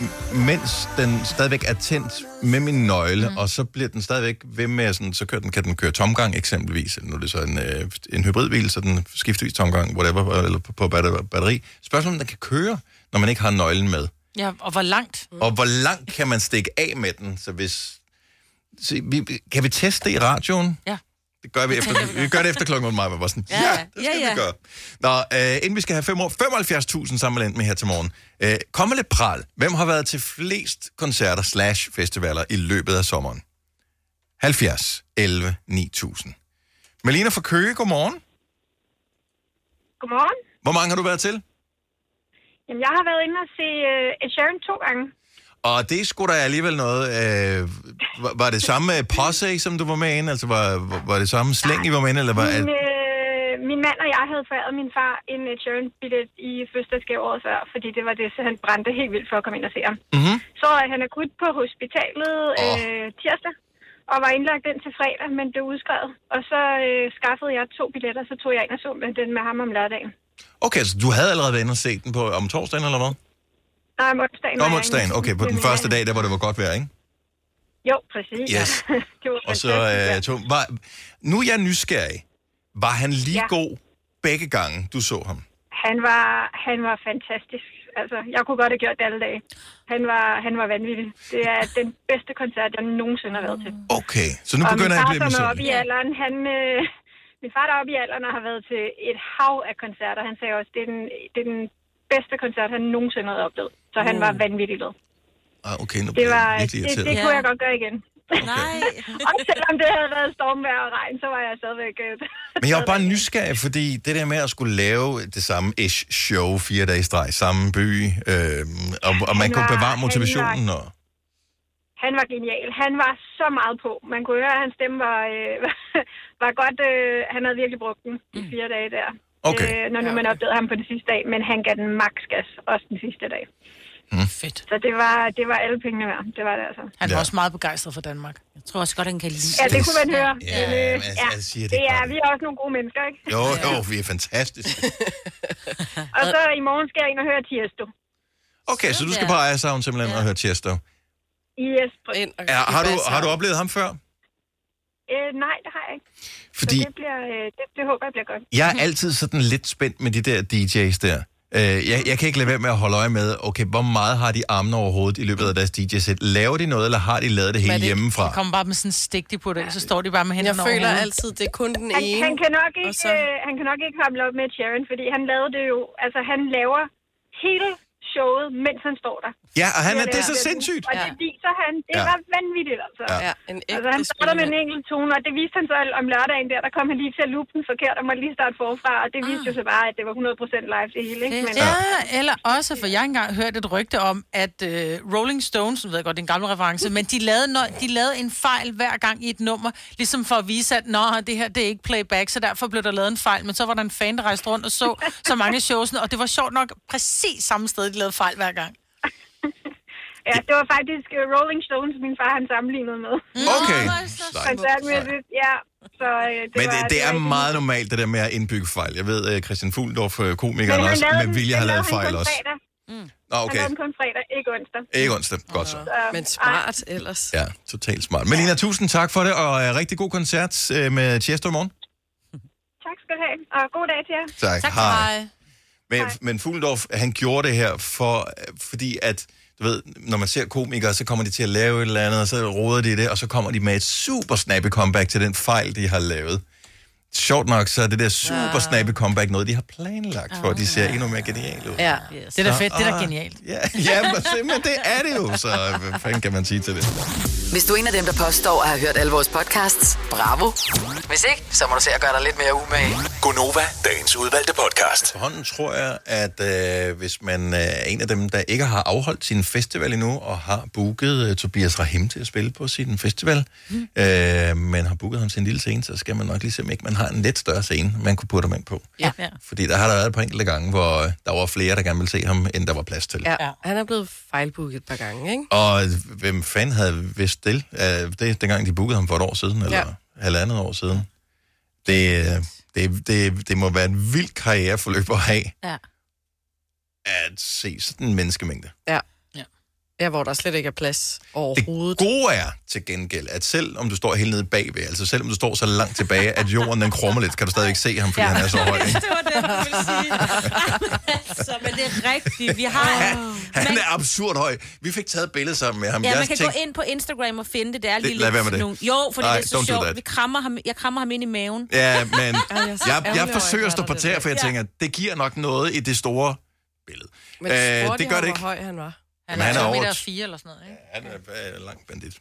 [SPEAKER 1] m- mens den stadigvæk er tændt med min nøgle, mm. og så bliver den stadigvæk ved med, sådan, så kører den, kan den køre tomgang eksempelvis. Nu er det så en, øh, en hybridbil, så den skiftevis tomgang, whatever, eller på, på batter- batteri. Spørgsmålet om den kan køre, når man ikke har nøglen med.
[SPEAKER 2] Ja, og hvor langt?
[SPEAKER 1] Mm. Og hvor langt kan man stikke af med den? Så hvis... Se, vi, vi- kan vi teste det i radioen?
[SPEAKER 2] Ja.
[SPEAKER 1] Det gør vi efter, vi gør det efter klokken 8 maj, var sådan, ja,
[SPEAKER 3] Ja,
[SPEAKER 1] ja, det skal ja, ja. vi gøre. Nå, øh, inden vi skal have fem år, 75.000 sammenlændt med her til morgen. Øh, kom med lidt pral. Hvem har været til flest koncerter slash festivaler i løbet af sommeren? 70, 11, 9000. Melina fra Køge, godmorgen.
[SPEAKER 9] Godmorgen.
[SPEAKER 1] Hvor mange har du været til?
[SPEAKER 9] Jamen, jeg har været inde og se øh, Ed Sheeran to gange.
[SPEAKER 1] Og det skulle da alligevel noget. Øh, var, var det samme øh, posse, som du var med ind? Altså, var, var- var det samme slæng, I var med ind? Eller var,
[SPEAKER 9] Min, øh, min mand og jeg havde foræret min far en Ed Sheeran-billet i fødselsdagsgave året før, fordi det var det, så han brændte helt vildt for at komme ind og se ham.
[SPEAKER 1] mm-hmm.
[SPEAKER 9] Så øh, han er kudt på hospitalet øh, tirsdag og var indlagt ind til fredag, men blev udskrevet. Og så øh, skaffede jeg to billetter, så tog jeg ind og så med den med ham om lørdagen.
[SPEAKER 1] Okay, så du havde allerede været inde og set den på om torsdagen, eller hvad?
[SPEAKER 9] Nej, om onsdagen. var
[SPEAKER 1] Om
[SPEAKER 9] jeg
[SPEAKER 1] onsdagen,
[SPEAKER 9] inde.
[SPEAKER 1] okay, på
[SPEAKER 9] Med
[SPEAKER 1] den
[SPEAKER 9] min
[SPEAKER 1] første
[SPEAKER 9] mand.
[SPEAKER 1] dag, der hvor det var godt vejr, ikke?
[SPEAKER 9] Jo, præcis.
[SPEAKER 1] Yes.
[SPEAKER 9] det var
[SPEAKER 1] Og så
[SPEAKER 9] fantastisk, ja.
[SPEAKER 1] øh, tog, var, Nu er jeg nysgerrig. Var han lige ja. god begge gange, du så ham?
[SPEAKER 9] Han var, han var fantastisk. Altså, jeg kunne godt have gjort det alle dage. Han var, han var vanvittig. Det er den bedste koncert, jeg nogensinde har været til.
[SPEAKER 1] Okay, så nu
[SPEAKER 9] og
[SPEAKER 1] begynder jeg
[SPEAKER 9] min
[SPEAKER 1] at
[SPEAKER 9] far,
[SPEAKER 1] blive
[SPEAKER 9] som er oppe i
[SPEAKER 1] misundelig.
[SPEAKER 9] alderen, han... Øh, min far, der er oppe i alderen, og har været til et hav af koncerter. Han sagde også, det er den, det er den bedste koncert, han nogensinde havde oplevet. Så han var vanvittig glad.
[SPEAKER 1] Mm. Ah, okay, nu
[SPEAKER 9] Det,
[SPEAKER 1] bliver
[SPEAKER 9] var,
[SPEAKER 1] jeg
[SPEAKER 9] det,
[SPEAKER 1] virkelig irriteret.
[SPEAKER 9] det kunne jeg godt gøre igen.
[SPEAKER 3] Nej.
[SPEAKER 9] og selvom det havde været stormvejr og regn, så var jeg stadigvæk... Øh,
[SPEAKER 1] Men jeg er jo bare nysgerrig, fordi det der med at skulle lave det samme ish show fire dage i streg, samme by, øh, og, og man
[SPEAKER 9] Han
[SPEAKER 1] kunne
[SPEAKER 9] var-
[SPEAKER 1] bevare
[SPEAKER 9] han
[SPEAKER 1] motivationen.
[SPEAKER 9] var-
[SPEAKER 1] Og,
[SPEAKER 9] Han var genial. Han var så meget på. Man kunne høre, at hans stemme var, øh, var godt. Øh, han havde virkelig brugt den i fire dage der.
[SPEAKER 1] Mm. Okay.
[SPEAKER 9] Øh, når nu man opdagede ham på den sidste dag, men han gav den maks gas også den sidste dag.
[SPEAKER 1] Mm.
[SPEAKER 2] Fedt.
[SPEAKER 9] Så det var, det var alle pengene værd. Det var det altså.
[SPEAKER 2] Han var også meget begejstret for Danmark. Jeg
[SPEAKER 3] tror også godt, han kan lide
[SPEAKER 9] Ja, det kunne man høre.
[SPEAKER 1] Ja,
[SPEAKER 9] men, øh,
[SPEAKER 1] men jeg- jeg siger, det
[SPEAKER 9] det
[SPEAKER 1] er
[SPEAKER 9] er,
[SPEAKER 1] godt.
[SPEAKER 9] vi er også nogle gode mennesker, ikke?
[SPEAKER 1] Jo, jo, vi er fantastiske.
[SPEAKER 9] Og så i morgen skal jeg ind og høre Tiesto.
[SPEAKER 1] Okay, så du skal på Ejersound simpelthen og høre Tiesto.
[SPEAKER 9] Yes.
[SPEAKER 4] Ind og
[SPEAKER 1] Ja, har, du, har du oplevet ham før?
[SPEAKER 9] Øh, nej, det har jeg ikke.
[SPEAKER 1] Fordi-
[SPEAKER 9] Så det, bliver, øh, det, det håber jeg bliver godt.
[SPEAKER 1] Jeg er altid sådan lidt spændt med de der DJ's der. Øh, Jeg, jeg kan ikke lade være med at holde øje med, okay, hvor meget har de armene overhovedet i løbet af deres DJ-sæt? Laver de noget, eller har de lavet det hele
[SPEAKER 2] det,
[SPEAKER 1] hjemmefra?
[SPEAKER 2] De kommer bare med sådan en stik, de putter i, så står de bare med
[SPEAKER 4] Jeg
[SPEAKER 2] hænderne
[SPEAKER 4] føler
[SPEAKER 2] over
[SPEAKER 4] altid, det er kun den
[SPEAKER 9] Han,
[SPEAKER 4] ene.
[SPEAKER 9] han, kan nok
[SPEAKER 4] og
[SPEAKER 9] ikke,
[SPEAKER 4] så-
[SPEAKER 9] øh, han kan nok ikke hamle op med Sharon, fordi han lavede det jo... Altså, han laver hele showet, mens han står der.
[SPEAKER 1] Ja, og han
[SPEAKER 9] Det
[SPEAKER 1] er, det er så
[SPEAKER 9] der.
[SPEAKER 1] sindssygt.
[SPEAKER 9] Og det viser han. Det
[SPEAKER 1] Ja.
[SPEAKER 9] var vanvittigt, altså.
[SPEAKER 1] Ja. Ja,
[SPEAKER 4] en
[SPEAKER 9] altså, han starter med en enkelt tone, og det viste han så om lørdagen der. Der kom han lige til at loope den forkert, og måtte lige starte forfra. Og det
[SPEAKER 4] Ah.
[SPEAKER 9] viste jo så bare, at det var 100% live det hele, ikke? Men,
[SPEAKER 2] Ja, eller også, for jeg har engang hørt et rygte om, at øh, Rolling Stones, nu ved jeg godt, det er en gammel reference, men de lavede, no, de lavede en fejl hver gang i et nummer, ligesom for at vise, at nå, det her det er ikke playback, så derfor blev der lavet en fejl, men så var der en fan, der rejste rundt og så så mange af showsene, og det var sjovt nok præcis samme sted, de lavede fejl hver gang.
[SPEAKER 9] Ja, det var faktisk øh, Rolling Stones, min far han sammenlignede med.
[SPEAKER 1] Okay.
[SPEAKER 9] Han satte med det, ja. Så, øh, det
[SPEAKER 1] Men
[SPEAKER 9] var,
[SPEAKER 1] det, det er
[SPEAKER 9] var-
[SPEAKER 1] meget normalt, det der med at indbygge fejl. Jeg ved, øh, Christian Fuglendorf, øh,
[SPEAKER 9] Men
[SPEAKER 1] komikeren
[SPEAKER 9] han
[SPEAKER 1] også,
[SPEAKER 9] lavede
[SPEAKER 1] med
[SPEAKER 9] den-
[SPEAKER 1] vilje
[SPEAKER 9] den
[SPEAKER 1] har lavet
[SPEAKER 9] han
[SPEAKER 1] fejl
[SPEAKER 9] kun
[SPEAKER 1] også.
[SPEAKER 9] fredag.
[SPEAKER 1] Nå,
[SPEAKER 9] Han
[SPEAKER 1] okay.
[SPEAKER 9] lavede den kun fredag, ikke onsdag.
[SPEAKER 1] Ikke onsdag. Godt så.
[SPEAKER 9] Så,
[SPEAKER 4] Men smart ellers.
[SPEAKER 1] Ja, totalt smart. Melina, tusind tak for det, og øh, rigtig god koncert øh, med Tiesto i morgen.
[SPEAKER 9] Tak skal du have, og god dag til jer.
[SPEAKER 1] Tak. Tak, Hej. hej. Men, men Fuglendorf, han gjorde det her, for, fordi at, du ved, når man ser komikere, så kommer de til at lave et eller andet, og så roder de i det, og så kommer de med et super snappy comeback til den fejl, de har lavet. Sjovt nok, så er det der super
[SPEAKER 2] Ah.
[SPEAKER 1] snappy comeback noget, de har planlagt, for at de ser endnu mere geniale ud.
[SPEAKER 2] Ja, yes. det er da fedt, det er da
[SPEAKER 1] Ah.
[SPEAKER 2] genialt.
[SPEAKER 1] Ja, ja men, se, men det er det jo, så hvad fanden kan man sige til det?
[SPEAKER 5] Hvis du er en af dem, der påstår at have hørt alle vores podcasts, bravo. Hvis ikke, så må du se at gøre dig lidt mere umage.
[SPEAKER 7] Gonova, dagens udvalgte podcast.
[SPEAKER 1] Hånden tror jeg, at øh, hvis man øh, er en af dem, der ikke har afholdt sin festival endnu, og har booket øh, Tobias Rahim til at spille på sin festival, mm. øh, men har booket ham til en lille scene, så skal man nok ligesom ikke, man har en lidt større scene, man kunne putte ham ind på.
[SPEAKER 4] Ja.
[SPEAKER 1] Fordi der har der været et par enkelte gange, hvor øh, der var flere, der gerne ville se ham, end der var plads til.
[SPEAKER 4] ja. ja. Han er blevet fejlbooket et par gange, ikke?
[SPEAKER 1] Og hvem fanden havde vidst det? Øh, det er dengang, de bookede ham for et år siden, eller
[SPEAKER 4] Ja.
[SPEAKER 1] ja. halvandet år siden. Det, øh, det, det, det må være en vild karriereforløb at have,
[SPEAKER 3] Ja.
[SPEAKER 1] at se sådan en menneskemængde.
[SPEAKER 4] Ja. ja. Ja, hvor der slet ikke er plads
[SPEAKER 1] Det
[SPEAKER 4] overhovedet.
[SPEAKER 1] gode er til gengæld, at selv om du står helt nede bagved, altså selvom du står så langt tilbage, at jorden den krummer lidt, kan du stadig ikke se ham, fordi ja. han er så høj. Ikke?
[SPEAKER 3] det var det, jeg ville sige. altså, men det er rigtigt. Vi har...
[SPEAKER 1] Han er absurd høj. Vi fik taget billeder sammen med ham.
[SPEAKER 3] Ja,
[SPEAKER 1] Jeg
[SPEAKER 3] man kan
[SPEAKER 1] tænkte-
[SPEAKER 3] gå ind på Instagram og finde det. Det er
[SPEAKER 1] Det-
[SPEAKER 3] lige
[SPEAKER 1] lad
[SPEAKER 3] lidt
[SPEAKER 1] være med
[SPEAKER 3] sådan
[SPEAKER 1] det.
[SPEAKER 3] nogle- Jo, fordi
[SPEAKER 1] Nej,
[SPEAKER 3] det er så
[SPEAKER 1] don't do that.
[SPEAKER 3] sjovt. Vi krammer ham, jeg krammer ham ind i maven.
[SPEAKER 1] Ja, men
[SPEAKER 3] Ja, jeg er
[SPEAKER 1] jeg,
[SPEAKER 3] så
[SPEAKER 1] jeg,
[SPEAKER 3] ærgerlig over, at jeg
[SPEAKER 1] forsøger
[SPEAKER 3] gør
[SPEAKER 1] at stå på
[SPEAKER 3] det
[SPEAKER 1] tæer, for jeg
[SPEAKER 3] der.
[SPEAKER 1] tænker, det giver nok noget i det store billede.
[SPEAKER 4] Men
[SPEAKER 1] Øh,
[SPEAKER 4] spurgte
[SPEAKER 1] det
[SPEAKER 4] jeg
[SPEAKER 1] gør
[SPEAKER 4] ham,
[SPEAKER 1] det
[SPEAKER 4] Hvor
[SPEAKER 1] ikke.
[SPEAKER 4] høj han var.
[SPEAKER 1] Men han er over-
[SPEAKER 2] Fire eller sådan noget, ikke?
[SPEAKER 1] Han er øh, lang bandit.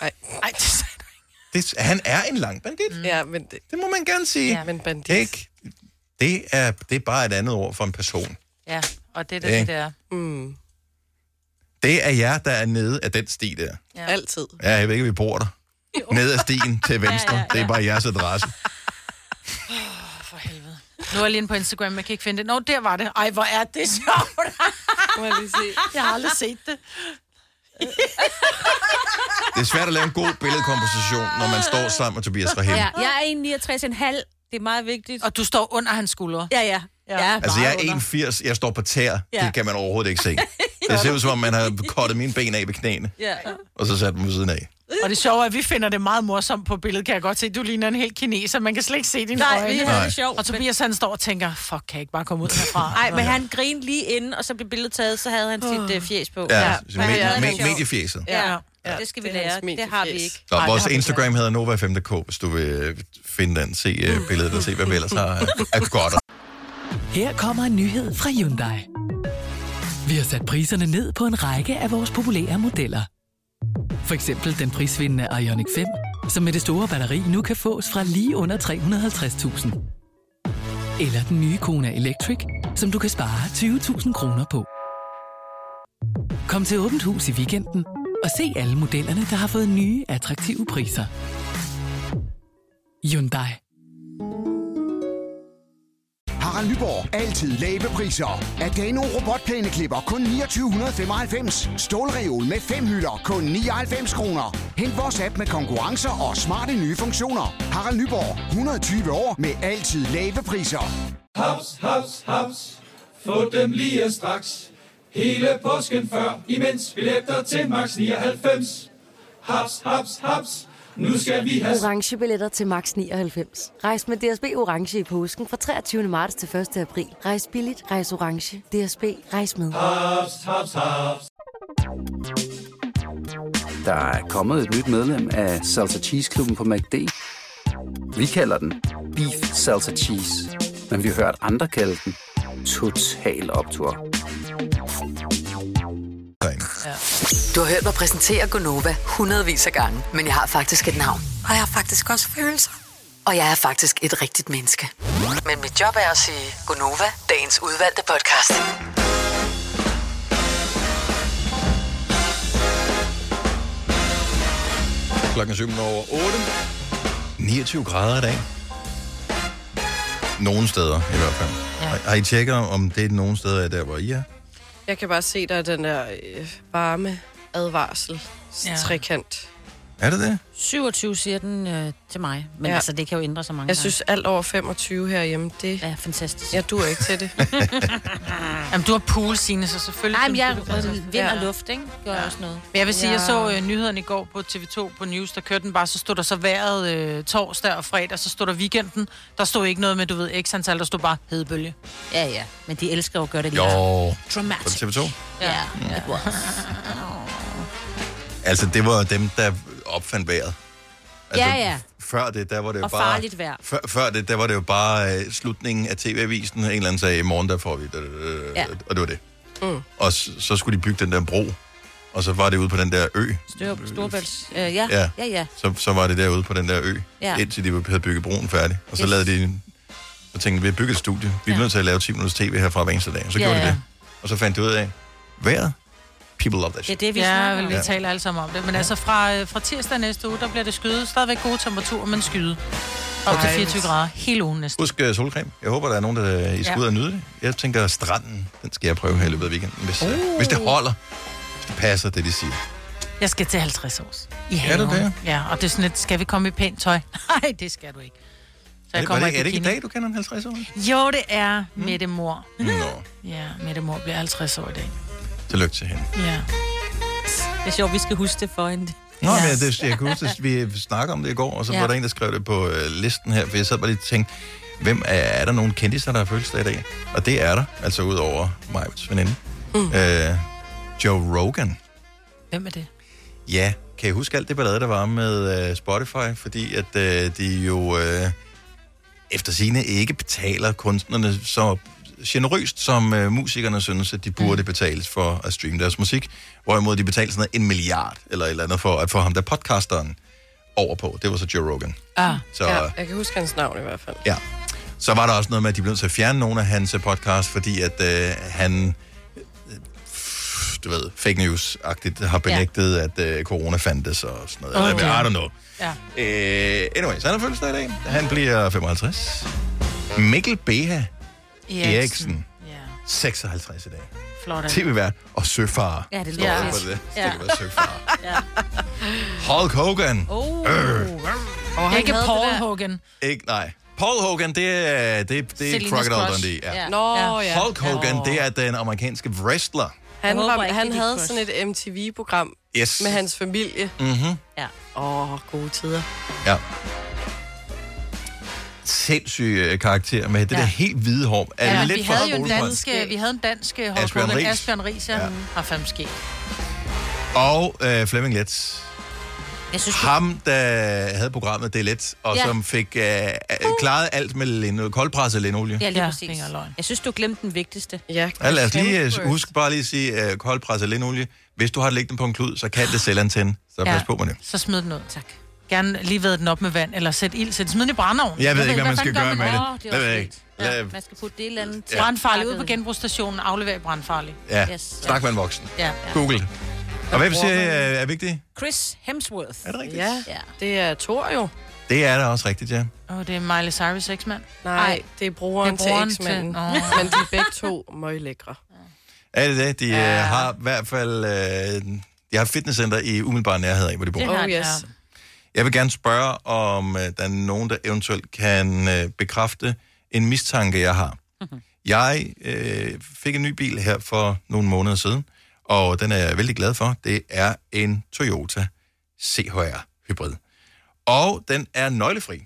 [SPEAKER 4] Ej.
[SPEAKER 2] Ej, det sagde du
[SPEAKER 1] Det, han er en lang bandit.
[SPEAKER 4] ikke. Ja, men det,
[SPEAKER 1] det må man gerne sige.
[SPEAKER 4] Ja. Men bandit.
[SPEAKER 1] Ikke? Det er, det er bare et andet ord for en person.
[SPEAKER 2] Ja, og det er det, det, det er.
[SPEAKER 4] Mm.
[SPEAKER 1] Det er jer, der er nede af den sti der.
[SPEAKER 4] Ja. Altid.
[SPEAKER 1] Ja, jeg ved ikke, vi bor der. Ned ad stien til
[SPEAKER 2] Ja, ja,
[SPEAKER 1] venstre. Ja, ja, ja. Det er bare jeres adresse.
[SPEAKER 2] Nu er jeg lige inde på Instagram, jeg kan ikke finde det. Nå, der var det. Ej, hvor er det sjovt.
[SPEAKER 4] Må jeg lige se?
[SPEAKER 2] Jeg har aldrig set det.
[SPEAKER 1] Det er svært at lave en god billedkomposition, når man står sammen med Tobias Rahim.
[SPEAKER 3] Ja, jeg er 1,69,5. Det er meget vigtigt.
[SPEAKER 2] Og du står under hans skuldre.
[SPEAKER 3] Ja, ja. ja. ja
[SPEAKER 1] Altså, jeg er 81, jeg står på tær.
[SPEAKER 3] Ja.
[SPEAKER 1] Det kan man overhovedet ikke se. Det ser ud som om, man har kottet mine ben af ved knæene,
[SPEAKER 3] Ja.
[SPEAKER 1] og så sat dem ved siden af.
[SPEAKER 2] Og det sjove er, at vi finder det meget morsomt på billedet, kan jeg godt se. Du ligner en helt kineser, man kan slet ikke se dine
[SPEAKER 3] Nej,
[SPEAKER 2] øjne.
[SPEAKER 3] vi havde det Nej. sjovt,
[SPEAKER 2] Og Tobias han står og tænker, fuck, kan jeg ikke bare komme ud herfra?
[SPEAKER 3] Nej, men han grinede lige inden, og så blev billedet taget, så havde han sit uh, fjes på.
[SPEAKER 1] Ja,
[SPEAKER 3] men han
[SPEAKER 1] medie-
[SPEAKER 3] havde det
[SPEAKER 1] me-
[SPEAKER 3] sjovt.
[SPEAKER 1] mediefjeset.
[SPEAKER 3] Ja.
[SPEAKER 4] ja,
[SPEAKER 3] det skal vi lære. Det har vi ikke.
[SPEAKER 1] Nå, vores Instagram hedder Nova5.dk, hvis du vil finde den. Se
[SPEAKER 3] Mm.
[SPEAKER 1] uh, billedet og se, hvad vi ellers har af godt.
[SPEAKER 12] Her kommer en nyhed fra Hyundai. Vi har sat priserne ned på en række af vores populære modeller. For eksempel den prisvindende Ioniq 5, som med det store batteri nu kan fås fra lige under 350.000. Eller den nye Kona Electric, som du kan spare 20.000 kroner på. Kom til Åbent Hus i weekenden og se alle modellerne, der har fået nye, attraktive priser. Hyundai.
[SPEAKER 11] Har Harald Nyborg. Altid lave priser. Adano robotplæneklipper kun 2995. Stålreol med fem hylder kun 99 kroner. Hent vores app med konkurrencer og smarte nye funktioner. Harald Nyborg. 120 år med altid lave priser.
[SPEAKER 13] Haps, haps, haps. Få dem lige straks. Hele påsken før, imens billetter til max 99. Haps, haps, haps. Nu skal vi have...
[SPEAKER 14] Orange billetter til max 99. Rejs med DSB Orange i påsken fra 23. marts til 1. april. Rejs billigt, rejs orange. DSB, rejs med.
[SPEAKER 13] Haps, haps, haps.
[SPEAKER 15] Der er kommet et nyt medlem af Salsa Cheese Klubben på MACD. Vi kalder den Beef Salsa Cheese, men vi har hørt andre kalde den Total Optor.
[SPEAKER 5] Du har hørt mig præsentere Gonova hundredvis af gange, men jeg har faktisk et navn.
[SPEAKER 16] Og jeg har faktisk også følelser.
[SPEAKER 5] Og jeg er faktisk et rigtigt menneske. Men mit job er at sige Gonova, dagens udvalgte podcast.
[SPEAKER 1] Klokken 7 over 8. 29 grader i dag. Nogle steder, i hvert fald.
[SPEAKER 4] Ja.
[SPEAKER 1] Ja. Har, har I tjekket, om det er nogen steder, der hvor I er?
[SPEAKER 4] Jeg kan bare se, der er den der øh, varme advarsel ja. trekant.
[SPEAKER 1] Er det det?
[SPEAKER 3] 27 siger den øh, til mig, men
[SPEAKER 4] Ja.
[SPEAKER 3] ja. altså, det kan jo ændre sig mange
[SPEAKER 4] Jeg synes, alt over 25 herhjemme, det
[SPEAKER 3] er fantastisk.
[SPEAKER 4] Jeg duer ikke til det.
[SPEAKER 2] Jamen, du har pool, Signe, så selvfølgelig...
[SPEAKER 3] Nej, men jeg
[SPEAKER 2] synes du, det er
[SPEAKER 3] er
[SPEAKER 2] fantastisk.
[SPEAKER 3] vind og
[SPEAKER 2] Ja.
[SPEAKER 3] luft, ikke? Gør ja. også noget.
[SPEAKER 2] Men jeg vil sige, ja. jeg så
[SPEAKER 3] Ja.
[SPEAKER 2] øh, nyhederne i går på TV2 på News, der kørte den bare, så stod der så vejret øh, torsdag og fredag, så stod der weekenden. Der stod ikke noget med, du ved, x antal, der stod bare hedebølge.
[SPEAKER 3] Ja, ja, men de elsker jo at gøre det
[SPEAKER 1] Jo. På
[SPEAKER 3] Dramatic.
[SPEAKER 1] TV2?
[SPEAKER 3] Ja, it was.
[SPEAKER 1] Altså, det var dem, der opfandt vejret. Altså,
[SPEAKER 3] ja, ja.
[SPEAKER 1] Før det, der var det jo
[SPEAKER 3] Og
[SPEAKER 1] bare...
[SPEAKER 3] farligt vejr.
[SPEAKER 1] Før, før det, der var det jo bare øh, slutningen af TV-avisen. En eller anden sagde, i morgen der får vi... Da, da, da,
[SPEAKER 3] Ja.
[SPEAKER 1] ja. Og Øh, det var det.
[SPEAKER 3] Mm.
[SPEAKER 1] Og så, så skulle de bygge den der bro. Og så var det ude på den der ø.
[SPEAKER 3] Stør, storbælts. Øh, ja. ja,
[SPEAKER 1] Ja.
[SPEAKER 3] ja, ja.
[SPEAKER 1] Så, så var det derude på den der ø,
[SPEAKER 3] Ja.
[SPEAKER 1] ja. indtil de havde bygget broen færdig. Og så
[SPEAKER 3] Yes.
[SPEAKER 1] yes. lavede de... en- Og tænkte, vi har bygget et studie. Vi er nødt til at lave 10 minutters tv herfra hver eneste dag. Og så
[SPEAKER 2] Ja,
[SPEAKER 1] ja, gjorde
[SPEAKER 2] ja.
[SPEAKER 1] de det. Og så fandt de ud af, vejret. People love that
[SPEAKER 2] Det er
[SPEAKER 1] shit.
[SPEAKER 2] det, vi ja,
[SPEAKER 1] snakker
[SPEAKER 2] vel,
[SPEAKER 1] om.
[SPEAKER 2] vi
[SPEAKER 1] Ja.
[SPEAKER 2] taler alle sammen om det. Men altså, fra, øh, fra tirsdag næste uge, der bliver det skyde. Stadigvæk gode temperaturer, men skyde. Op til
[SPEAKER 1] Ej.
[SPEAKER 2] 24 grader hele ugen næsten.
[SPEAKER 1] Husk uh, solcreme. Jeg håber, der er nogen, der øh, I
[SPEAKER 2] Ja.
[SPEAKER 1] skal ja. ud og nyde det. Jeg tænker, stranden, den skal jeg prøve her i løbet af weekenden, hvis, uh.
[SPEAKER 2] Uh.
[SPEAKER 1] hvis det holder. Hvis det passer, det de siger.
[SPEAKER 2] Jeg skal til 50 års. I
[SPEAKER 1] Er du
[SPEAKER 2] haven.
[SPEAKER 1] det?
[SPEAKER 2] Ja, og det er sådan lidt, skal vi komme i pænt tøj? Nej, det skal du ikke.
[SPEAKER 1] Er det- var det ikke- er det ikke i
[SPEAKER 2] bikini.
[SPEAKER 1] dag, du kender en 50 år?
[SPEAKER 2] Jo, det er Mette Mor.
[SPEAKER 1] Nå.
[SPEAKER 2] Ja, Mette Mor bliver 50 år i dag.
[SPEAKER 1] Tillykke til hende.
[SPEAKER 2] Ja.
[SPEAKER 3] Det er sjovt, vi skal huske det for hende.
[SPEAKER 1] Nå, men jeg, det, jeg kan huske, at vi snakkede om det i går, og så
[SPEAKER 3] Ja.
[SPEAKER 1] ja. var der en, der skrev det på øh, listen her, for jeg sad bare lige og tænkte, hvem er, er der nogen kendtiser, der har fødselsdag i dag? Og det er der, altså ud over mig, veninde. Mm. Øh, Joe Rogan.
[SPEAKER 2] Hvem er det?
[SPEAKER 1] Ja, kan I huske alt det ballade, der var med øh, Spotify? Fordi at øh, de jo øh, efter sine ikke betaler kunstnerne så generøst, som øh, musikerne synes, at de burde betales for at streame deres musik. Hvorimod de betaler sådan noget, en milliard eller et eller andet for at få ham der podcasteren over på. Det var så Joe Rogan.
[SPEAKER 4] Ah,
[SPEAKER 1] Så-
[SPEAKER 4] ja, jeg kan huske hans navn i hvert fald.
[SPEAKER 1] Ja. Så var der også noget med, at de blev nødt til at fjerne nogle af hans øh, podcast, fordi at øh, han, øh, du ved, fake news-agtigt har benægtet, ja. at øh, corona fandtes og sådan noget. Oh,
[SPEAKER 2] Okay.
[SPEAKER 1] I don't know.
[SPEAKER 2] Ja.
[SPEAKER 1] Øh, anyway, så han har fødselsdag i dag. Han bliver 55. Mikkel Beha
[SPEAKER 2] Eriksen.
[SPEAKER 1] Eriksen, Eriksen. 56 i dag.
[SPEAKER 2] Flot.
[SPEAKER 1] TV-vært og søfarer.
[SPEAKER 2] Ja, det
[SPEAKER 1] Står
[SPEAKER 2] lyder
[SPEAKER 1] der på
[SPEAKER 2] fedt.
[SPEAKER 1] det.
[SPEAKER 2] Ja.
[SPEAKER 1] Ja. Det var søfarer. Hulk Hogan.
[SPEAKER 2] Oh.
[SPEAKER 1] Øh.
[SPEAKER 2] Og
[SPEAKER 3] han
[SPEAKER 2] ikke
[SPEAKER 3] havde det
[SPEAKER 2] Paul
[SPEAKER 3] der-
[SPEAKER 2] Hogan.
[SPEAKER 1] Ikke, nej. Paul Hogan, det er, det, det er
[SPEAKER 2] Selenas
[SPEAKER 1] Crocodile
[SPEAKER 2] crush.
[SPEAKER 1] Dundee. Ja.
[SPEAKER 2] Ja.
[SPEAKER 4] Nå, ja. ja.
[SPEAKER 1] Hulk Hogan, det er den amerikanske wrestler.
[SPEAKER 3] Jeg
[SPEAKER 4] Han, var,
[SPEAKER 3] håber ikke,
[SPEAKER 4] han
[SPEAKER 3] det gik
[SPEAKER 4] havde
[SPEAKER 3] godt.
[SPEAKER 4] sådan et MTV-program
[SPEAKER 1] Yes.
[SPEAKER 4] med hans familie.
[SPEAKER 1] Mm-hmm.
[SPEAKER 3] Ja.
[SPEAKER 4] Åh, oh, gode tider.
[SPEAKER 1] Ja. Sindssyg øh, karakter med det ja. der helt hvide hår. Er
[SPEAKER 2] Ja,
[SPEAKER 1] ja,
[SPEAKER 2] vi
[SPEAKER 1] lidt for
[SPEAKER 2] havde jo en
[SPEAKER 1] Rolls Royce.
[SPEAKER 2] dansk, øh, vi havde en dansk øh, Hulk
[SPEAKER 1] Asbjørn
[SPEAKER 2] Hogan.
[SPEAKER 1] Riis.
[SPEAKER 2] Asbjørn Ries, ja.
[SPEAKER 1] Ja.
[SPEAKER 2] Har fem ske.
[SPEAKER 1] Og øh, Flemming Letts.
[SPEAKER 3] Jeg synes,
[SPEAKER 1] Ham, der havde programmet Det er let, og
[SPEAKER 3] Ja.
[SPEAKER 1] ja. som fik øh, øh, klaret alt med lino, koldpresset linolie.
[SPEAKER 3] Ja,
[SPEAKER 1] Ja.
[SPEAKER 3] lige ja, præcis. Jeg synes, du glemte den vigtigste.
[SPEAKER 4] Ja,
[SPEAKER 1] Ja, lad os lige øh, husk bare lige at sige, øh, koldpresset linolie. Hvis du har liggende på en klud, så kan det selvantænde. Så
[SPEAKER 2] Ja.
[SPEAKER 1] pas på med det.
[SPEAKER 2] Så smid den ud. Tak. Gerne lige ved den op med vand, eller sæt ild. Sæt smid den i brændeovnen.
[SPEAKER 1] Jeg ved ikke, hvad man
[SPEAKER 2] fanden
[SPEAKER 1] skal gøre
[SPEAKER 2] man?
[SPEAKER 1] med det.
[SPEAKER 2] Åh,
[SPEAKER 1] Det ved jeg ikke. Lad-
[SPEAKER 3] Man skal putte det eller andet.
[SPEAKER 1] Ja.
[SPEAKER 2] Brandfarlig ud på genbrugsstationen. Aflever i brandfarlig.
[SPEAKER 1] Ja, yes. snak med en voksen.
[SPEAKER 2] Ja.
[SPEAKER 1] Google det. Og hvem siger, øh, er vigtig?
[SPEAKER 3] Chris Hemsworth. Er
[SPEAKER 1] det rigtigt?
[SPEAKER 4] Ja, det er Thor jo.
[SPEAKER 1] Det er da også rigtigt, ja.
[SPEAKER 2] Åh, oh, det er Miley Cyrus eksmand.
[SPEAKER 4] Nej, Ej, det er brugeren,
[SPEAKER 2] det er brugeren
[SPEAKER 4] til X-manden.
[SPEAKER 2] til- Nå.
[SPEAKER 4] Men de er begge to meget lækre.
[SPEAKER 1] Er det det? De ja. har i hvert fald... Øh, de har et fitnesscenter i umiddelbar nærhed af, hvor de bor.
[SPEAKER 4] Oh yes.
[SPEAKER 1] Jeg vil gerne spørge, om øh, der er nogen, der eventuelt kan øh, bekræfte en mistanke, jeg har. Jeg øh, fik en ny bil her for nogle måneder siden, og den er jeg vældig glad for. Det er en Toyota CHR Hybrid. Og den er nøglefri.